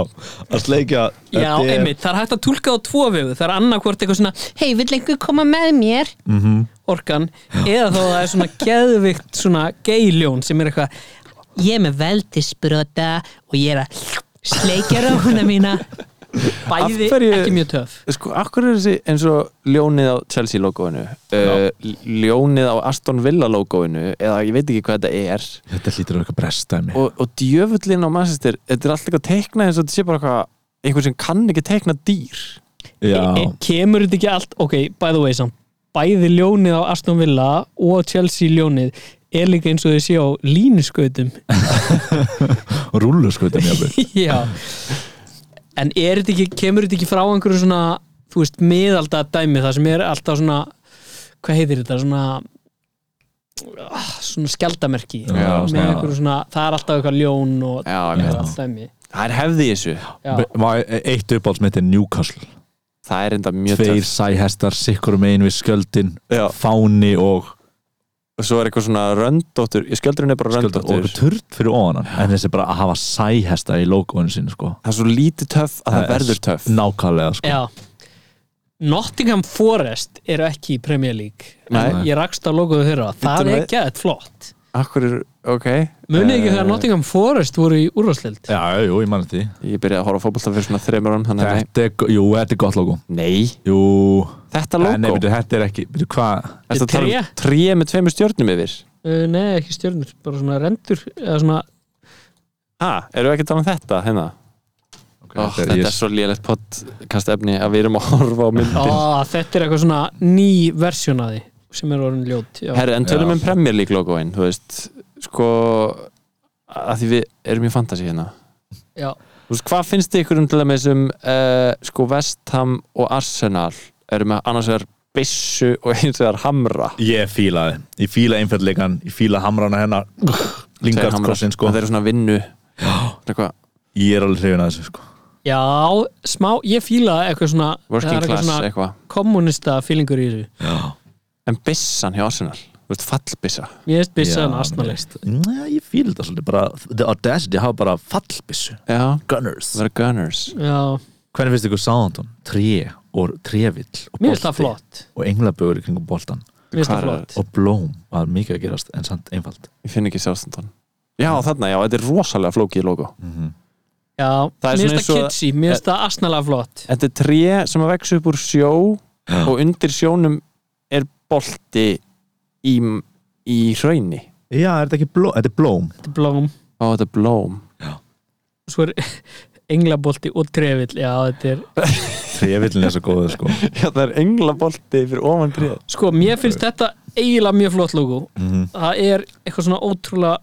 E: að sleikja
C: Já,
E: þetta er-
C: einmitt, það er hægt að túlka á tvo vegu Það er annarkvort eitthvað svona Hei, vill einhver koma með mér? Mm Orkan, eða þá það er svona geðvikt svona geiljón sem er eitthvað Ég er með veldisbrota og ég er að sleikja rófuna mína Bæði
D: Af hverju-
C: ekki mjög töf
D: sko, akkur er þessi eins og ljónið á Chelsea logoinu uh, ljónið á Aston Villa logoinu eða ég veit ekki hvað þetta er
E: Þetta hlýtur að vera eitthvað brestæmi
D: og, og djöfullin á Manchester þetta er alltaf eitthvað teiknað eins og þetta sé bara eitthvað einhver sem kann ekki teikna dýr
E: Já,
C: e, kemur þetta ekki allt ok, by the way samt bæði ljónið á Aston Villa og Chelsea ljónið er líka eins og þau séu á línuskautum
E: rúlu sko þetta mjög
C: [LAUGHS] já en er þetta ekki, kemur þetta ekki frá einhverju svona, þú veist, miðalda dæmi það sem er alltaf svona hvað heitir þetta, svona ah, svona skjaldamerki
E: Já,
C: með
E: svona-
C: einhverju svona, það er alltaf eitthvað ljón og
D: Já, ég veit.
C: allt dæmi
D: það er hefði í þessu
C: já,
E: e- Eitt uppáhalds mitt er Newcastle
D: það er enda mjög
E: Tveir
D: töff
E: sæhestar, sikkur um einu við skjöldin
D: Já.
E: Fáni og
D: og svo er eitthvað svona röndóttur í skjöldurinn er bara
E: skjöldin og
D: röndóttur
E: eitthvað turd fyrir ofan hann En þessi bara að hafa sæhesta í logoinu sínu sko
D: það er svo lítið töff að það,
E: er
D: verður töff
E: Nákvæmlega sko
C: já Nottingham Forest eru ekki í Premier League en
D: Nei.
C: ég rakst á logoðu þeirra það
D: Bíddu
C: er
D: nú við-
C: gett flott
D: akkur er, ok
C: Munið ekki
D: Eh,
C: þegar Nottingham Forest voru í úrvarsleild?
E: Já, jú, ég mann því
D: ég byrjaði að horfa á fótbolta fyrir svona þreymur árum þannig að
E: Þetta er, go- jú, þetta er gott logo
D: nei,
E: Jú,
D: þetta
E: en nei,
D: logo
E: byrju, þetta er ekki Byrju, hvað?
D: þetta tala
C: Tré?
D: um tré með tveimur stjörnum yfir
C: Uh, nei, ekki stjörnur, bara svona rendur eða svona,
D: ha, eru við ekki að tala um þetta hérna Ó, þetta er svo lélegt podcast efni að við erum að horfa á myndin
C: á, þetta er eitthvað svona ný versjón að því sem er orðin ljót já.
D: Herri, en
E: Já.
D: tölum um Premier League logoinn, þú veist, sko að því við erum í fantasy hérna
C: já.
D: Þú veist, hvað finnst þið ykkur um til dæmis um uh, sko West Ham og Arsenal eru með annars vegar byssu og eins vegar hamra
E: Ég fílaði, ég fíla einfjöldleikan Ég fíla hamrana hennar
D: Tveir hamrar.
E: Lingardkrossin sko
D: En þeir eru svona vinnu Svona [GASPS] eitthvað,
E: Ég er alveg hrifin að þessu sko
C: Já, smá, ég fíla eitthvað svona það
D: working
C: er
D: class
C: svona
D: eitthvað
C: kommunista fílingur í þessu
D: en byssan hjá Arsenal, þú veist, fallbyssa
C: Mér veist byssaðan
E: Já, mér
C: astnalegt
E: finnst- Já, ég fíl þetta svolítið bara The Audacity hafa bara fallbissu
D: já,
E: Gunners
D: það eru gunners
C: Já,
E: Hvernig finnst ykkur Southampton? Tré og trevill og
C: mér finnst það
E: bolti
C: flott
E: og englabögur í kringum boltan
C: Mér finnst
D: Hvar
C: það
D: er-
C: flott
E: og blóm var mikið að gerast en samt einfalt
D: ég finn ekki sjálfstandan já, þarna, já, þetta er rosalega flókið logo
E: Mhm.
C: Já,
D: Það er
C: mér
D: svona eins
C: finnst
D: og- Eh.
C: það kitsi, mér finnst það astnalega flott
D: þetta er tré sem að vex upp úr sjó
E: Já.
D: og undir sjónum er bolti í, í hraunni
E: Já, er þetta ekki blóm? Þetta er blóm
C: Þetta er blóm,
D: og þetta er blóm
C: svo er [LAUGHS] englabolti og trefill Já, þetta er
E: Trevillin er svo góður sko
D: [LAUGHS] já, það er englabolti fyrir ofan tréð
C: Sko, mér finnst þetta eiginlega mjög flott logo
E: Mhm.
C: Það er eitthvað svona ótrúlega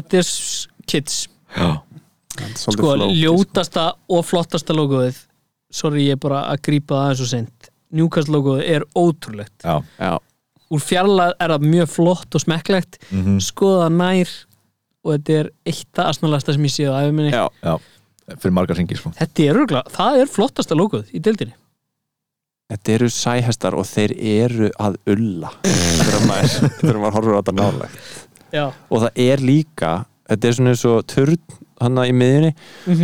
C: Þetta er s- kids
E: Já,
C: Sko, ljótasta og flottasta logoið Sorry, ég er bara að grípa það eins og sent Newcastle logoið er ótrúlegt
E: já
D: sko. já,
C: Úr fjarlæð er það mjög flott og smekklegt
E: Mhm.
C: Skoða nær Og þetta er eitt það asnalegasta sem ég séð á æfuminni
D: já,
E: Já, fyrir margar hringi sko
C: Þetta er örgla, það er flottasta logoð í deildinni
D: þetta eru sæhestar og þeir eru að ulla þegar maður, þegar maður horfur á þetta nálegt
C: Já,
D: og það er líka, þetta er svona eins og törn hann í miðjunni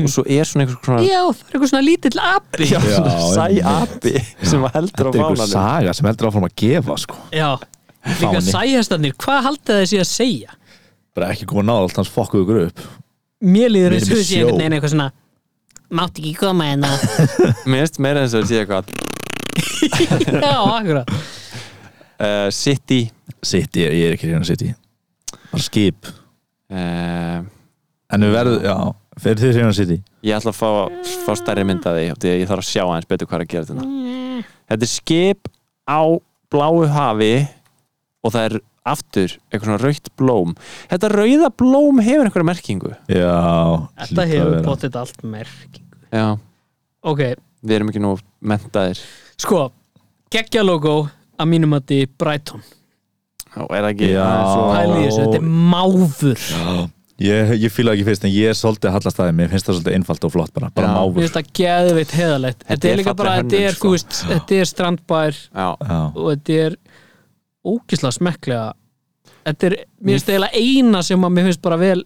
D: og svo er svona einhvers konar
C: Mhm. það er eitthvað svona lítill api
D: Já,
E: Já,
D: svona sæapi sem heldur á
E: Þetta er einhver
D: fánanum
E: saga sem heldur áfram að gefa sko
C: Já, líka
E: Fáni.
C: sæhestarnir, hvað haldið þessi að segja?
E: Bara ekki koma náða allt hans fokkuðu ykkur upp
C: Mér líður
E: Við
C: eins og
E: erum í
C: þessi
E: sjó.
C: einhvern veginn eitthvað svona Mátt ekki koma hérna
D: Mér finnst meira eins og að sé eitthvað
C: Já, akkurat
D: uh, City
E: City, ég er ekki hérna City Bara skip
D: uh,
E: En við verðum, já, fyrir þið hérna City
D: Ég ætla að fá, fá stærri mynd af því af því að ég þarf að sjá aðeins betur hvað er að gera þetta Þetta er skip á bláu hafi og það er aftur eitthvað svona raukt blóm Þetta rauða blóm hefur einhverja merkingu
E: Já
C: [LAUGHS] Þetta hefur bóttið allt merking
D: Já,
C: Ok,
D: við erum ekki nú mentaðir
C: sko, geggja logo að mínum að þið Brighton
D: og er það ekki
E: Já.
D: það er
C: Pæli
D: svo-
C: þessu, þetta er máfur
E: Ég, ég fíla ekki fyrst en ég er svolítið að hallast aðeins, mér finnst það svolítið einfalt og flott bara, bara
D: Já.
E: máfur
C: Mér finnst það geðveitt heðalegt
D: Þetta
C: Þetta
D: er
C: er líka
D: falleg
C: bara,
D: hönnun,
C: þetta er,
D: sko.
C: þú veist, þetta er strandbær
D: Já,
E: Já.
C: og þetta er ógislega smekklega þetta er, mér finnst eiginlega eina sem að mér finnst bara vel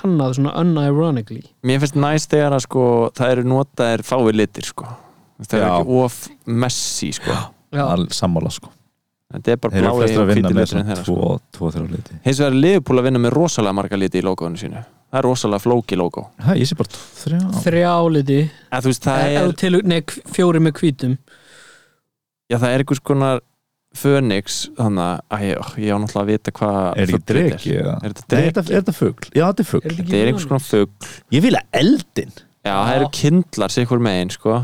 C: hannað svona unironically
D: Mér finnst næst þegar að sko það eru notaðir fáið litir sko Það er
E: Já.
D: ekki of messy sko
C: já,
E: All, sammála sko
D: Þetta er bara
E: Þeir eru
D: blái
E: flestir
D: og
E: að vinna
D: hvíti
E: með
D: liturinn
E: svona
D: þeirra sko
E: tvo, tvo þrjá liti
D: Hins vegar er Liverpool að vinna með rosalega marga liti í logoinu sínu Það er rosalega flóki logo
E: Hæ, ég sé bara tvo- þrjá
C: þrjáliti
D: Eða, þú veist, það,
C: er...
D: er,
C: til, nei, kv- fjóri með hvítum
D: já, það er einhvers konar Phoenix Þannig að ég, ó, ég á náttúrulega að vita hvað
E: Er ekki
D: fuglið
E: dreki eða?
D: Er þetta
E: Nei, Er
D: dreki?
E: þetta- er þetta fugl? Já, þetta er fugl
D: Þetta er einhvers konar fugg
E: Ég fíla eldin
D: Já, það eru kindlar sér hver megin sko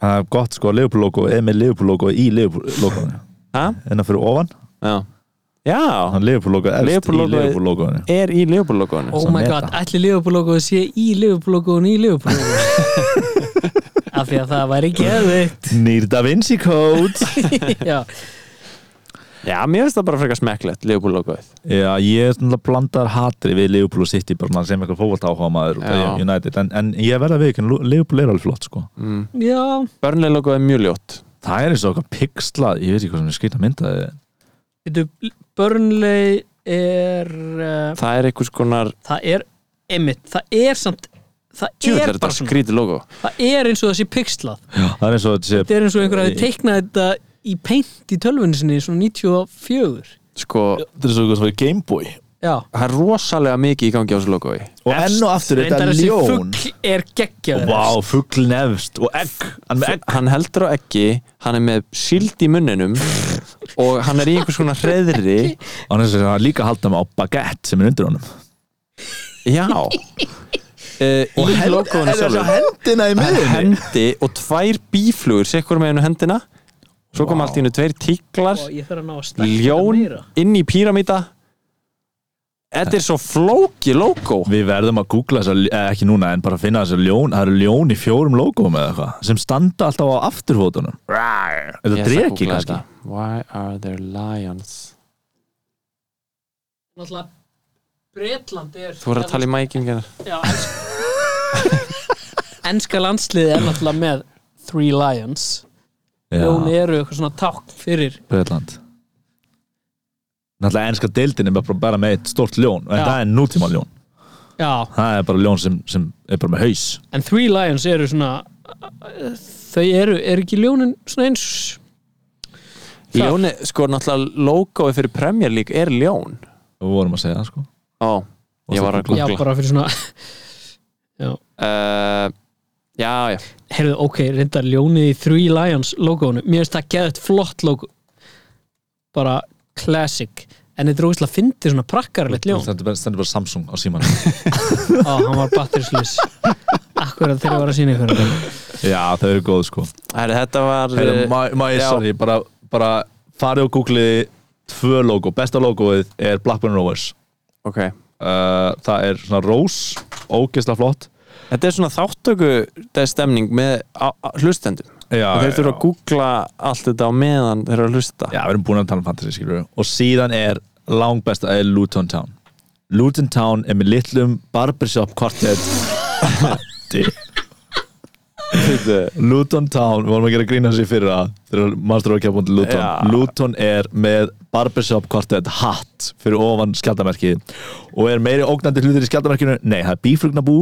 E: Það er gott sko, Liverpool logo er með Liverpool logo í Liverpool logoinu
D: Ha?
E: En það fyrir ofan,
D: Já, já
E: hann Liverpool logo efst
D: Liverpool
E: í
D: logoið-
E: Liverpool logoinu
C: [LAUGHS]
D: er í Liverpool logoinu
C: oh
E: Sem
C: my
E: meta.
C: god, ætli liðbúlókuðu sé í liðbúlókuðun í
E: [LAUGHS]
C: liðbúlókuðun af því að það væri geðveikt
E: Nýr Da Vinci Code
C: já,
D: Já, mér finnst það bara frekar smekklegt Liverpool logoið
E: Já, ég er svona blandar hatri við Liverpool og City bara sem eitthvað fókvalt áhuga maður
D: Já.
E: United, en, en ég verða við ekki Liverpool er alveg flott sko
D: mm.
C: já,
D: Burnley logoið er mjög ljótt
E: Það er eins og eitthvað pixla, ég veit ekki hvað sem er skýta mynda
C: veitu Burnley er uh,
D: Það er einhvers konar
C: það er, einmitt, það er samt það
D: Tjúl,
C: er
D: er
C: bara
D: þetta
C: svona,
D: skrítið logo
C: það er eins og það sé pixlað
E: Það er eins og þetta
C: Þetta
E: sé
C: er eins og einhver hafi teiknað þetta í peint í tölvunni sinni svona 94
D: Sko,
E: Þetta er eins og eitthvað sem er Gameboy
C: Já
D: það er rosalega mikið í gangi á þessu logoi
E: Og enn og aftur, þetta
C: Reyndar
E: er
C: þessi
E: ljón
C: fugl er geggjaður
E: Vá, fugl nefst og egg Hann með egg
D: Hann heldur á ekki, hann er með síld í munninum og hann er í einhvers konar hreðri
E: Hann er eins og hann líka að halda með á baguette sem er undir honum
D: Já Uh, í logoinu sjálfur
E: hendina í
D: Það er hendi og tvær bíflugur sé hvort með hennu hendina svo kom
E: Vá.
D: allt í hennu tveir tíklar
C: Vá, Ég þarf að ná að stækka þetta
D: ljón
C: meira.
D: inn í píramíta Þetta er svo flóki logo
E: Við verðum að googla þessar, eh, ekki núna en bara finna þessar ljón, það eru ljón í fjórum logoum eða eitthvað, sem standa alltaf á afturfótunum
D: Ég
E: Rar. Er það
D: ætla að
E: dreki
D: googla
E: kannski?
D: þetta. Why are there lions?
C: Náttúrulega Bretland er
D: hérna. Þú voru að tala í mækingina
C: Já, en- Enska landsliði er náttúrulega með Three Lions Ljón
E: Já,
C: eru eitthvað svona takk fyrir
E: Breiland Náttúrulega enska deildin er bara, bara með eitt stórt ljón en
C: Já.
E: það er nútíma ljón
C: Já,
E: það er bara ljón sem, sem er bara með haus
C: en Three Lions eru svona þau eru, er ekki ljónin svona eins Það-
D: Ljóni, sko náttúrulega logoið fyrir Premier League er ljón
E: við vorum að segja það sko
D: Ó, ég var að
C: Já,
D: googla
C: bara fyrir svona [LAUGHS]
D: uh, Já, já
C: Heyrðu, ok, reyndar ljónið í Three Lions logoinu, mér finnst það geðið flott logo bara classic en þetta er ógeðslega fyndið svona prakkarlegt ljón
E: stendur bara, stendur bara Samsung á síman
D: [LAUGHS]
C: Ó, hann var batterislis Akkurat þegar ég var að sína ykkur þetta.
E: já það eru góð sko
D: Herri, þetta var
E: Heyrðu,
D: eh,
E: má- má ég
D: já.
E: sorry, bara, bara farið og googliði tvö logo, besta logoið er Blackburn Rovers
D: Ok
E: uh, það er svona rós ógeðslega flott
D: Þetta er svona þáttöku þetta er stemning með á- á- hlustendum
E: já,
D: og þeir þurfa að
E: já.
D: googla allt þetta á meðan þeir eru að hlusta
E: já, við erum búin að tala um fantasy skilur og síðan er langbesta er Luton Town Luton Town er með litlum barbershop quartet Hatti. Luton Town, við vorum að gera grína sér fyrir að þegar maður ekki að búin til Luton
D: Já.
E: Luton er með barbershop quartet hatt fyrir ofan skjaldamerkið og er meiri ógnandi hlutir í skjaldamerkinu nei, það er bíflugnabú,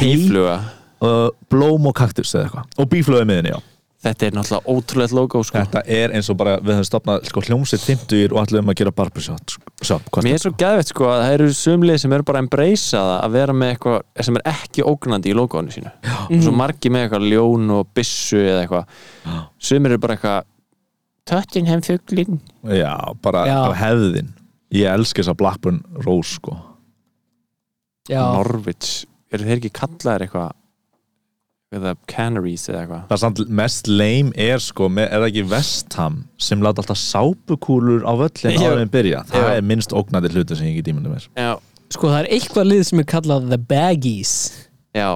E: hei
D: Bífluga
E: uh, blóm og kaktus eða eitthvað og bífluga í miðinni, já
D: Þetta er náttúrulega ótrúlegt logo sko.
E: Þetta er eins og bara við höfum stopnað sko, hljómsið timtugir og allir um að gera barbershop shop, hvað
D: Mér er svo gæðvett sko að það eru sumlið sem eru bara að embracea það að vera með eitthvað sem er ekki ógnandi í logoinu sínu og svo margi með eitthvað ljón og byssu eða eitthvað sumir eru bara eitthvað Tottenham fuglin
E: er- Já, bara,
C: Já.
E: bara hefðin Ég elska þess að Blackburn Rose sko.
C: Já,
D: Norwich, eru þeir ekki kallaðir eitthvað eða Canaries eða eitthvað
E: Það er samt mest lame er sko, með, er það ekki Vestham sem láta alltaf sápukúlur á völlin
D: Já.
E: áður en byrja, það
D: Já.
E: er minnst ógnandi hlutu sem ég get ímyndið mér
D: Já,
C: sko það er eitthvað lið sem er kallað The Baggies
D: já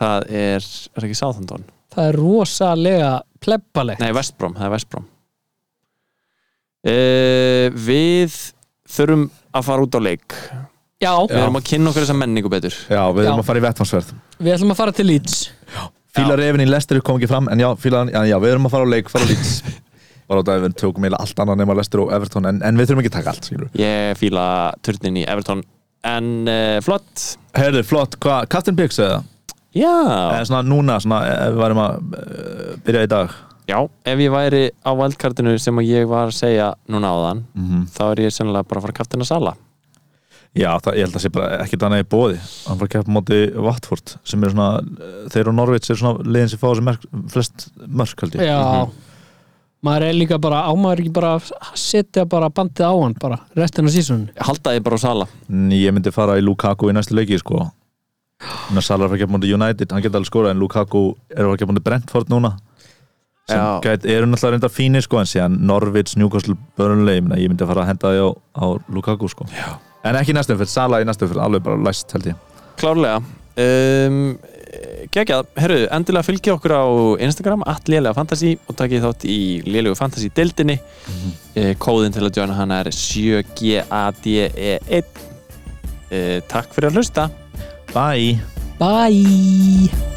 D: það er, er það ekki Southampton
C: Það er rosalega plebbalegt
D: Nei, Vestbrom, það er Vestbrom uh, Við þurfum að fara út á leik
C: Já,
D: Við erum að kynna okkur þessa menningu betur
E: Já, við
C: Já.
E: erum að fara í vettvansverð
C: við ætlum að fara til Leeds
E: Fílar Efin í Lester kom ekki fram en já, fílar, já, já, við erum að fara á leik, fara á lít [LAUGHS] Bara á dag við tökum eiginlega allt annað nema Lester og Everton en, en við þurfum ekki að taka allt, skilur
D: Ég fíla turnin í Everton En uh, flott
E: Herðu, flott, hvað, Captain Biggs eða?
D: Já.
E: eða svona núna, svona eh, ef við varum að uh, byrja í dag
D: Já, ef ég væri á valdkartinu sem að ég var að segja núna áðan þá er ég sennilega bara að fara að kaftina sala
E: já, það, ég held að sé bara ekkert annað í bóði hann var að keppa á móti Watford sem er svona, eh, þeir og Norvits er svona liðin sem fá þessi merk, flest mörk held ég
C: Já Maður er líka bara, á maður ekki bara að setja bara bandið á hann bara, restina af sísunni
D: Haldaði bara á sala
E: En ég myndi fara í Lukaku í næstu leiki sko Þannig að Salah er að fara að keppa á móti United hann geta alveg skora en Lukaku er að fara að keppa á móti Brentford núna sem
D: Já.
E: gæt, eru náttúrulega reynda fínir sko en síðan Norvits, Newcastle, Burnley ég myndi- ég myndi fara að henda því á, á Lukaku sko já. en ekki næstum fyrir, Salah í næstum fyrir alveg bara læst held ég
D: Klárlega um, Gekjað, herru, endilega fylgja okkur á Instagram, alllélega fantasy og takið þátt í lélegu fantasy deildinni Kóðin til að djóna hana er E Eh, 7GADE1 uh, Takk fyrir að hlusta
E: Bye.
C: Bye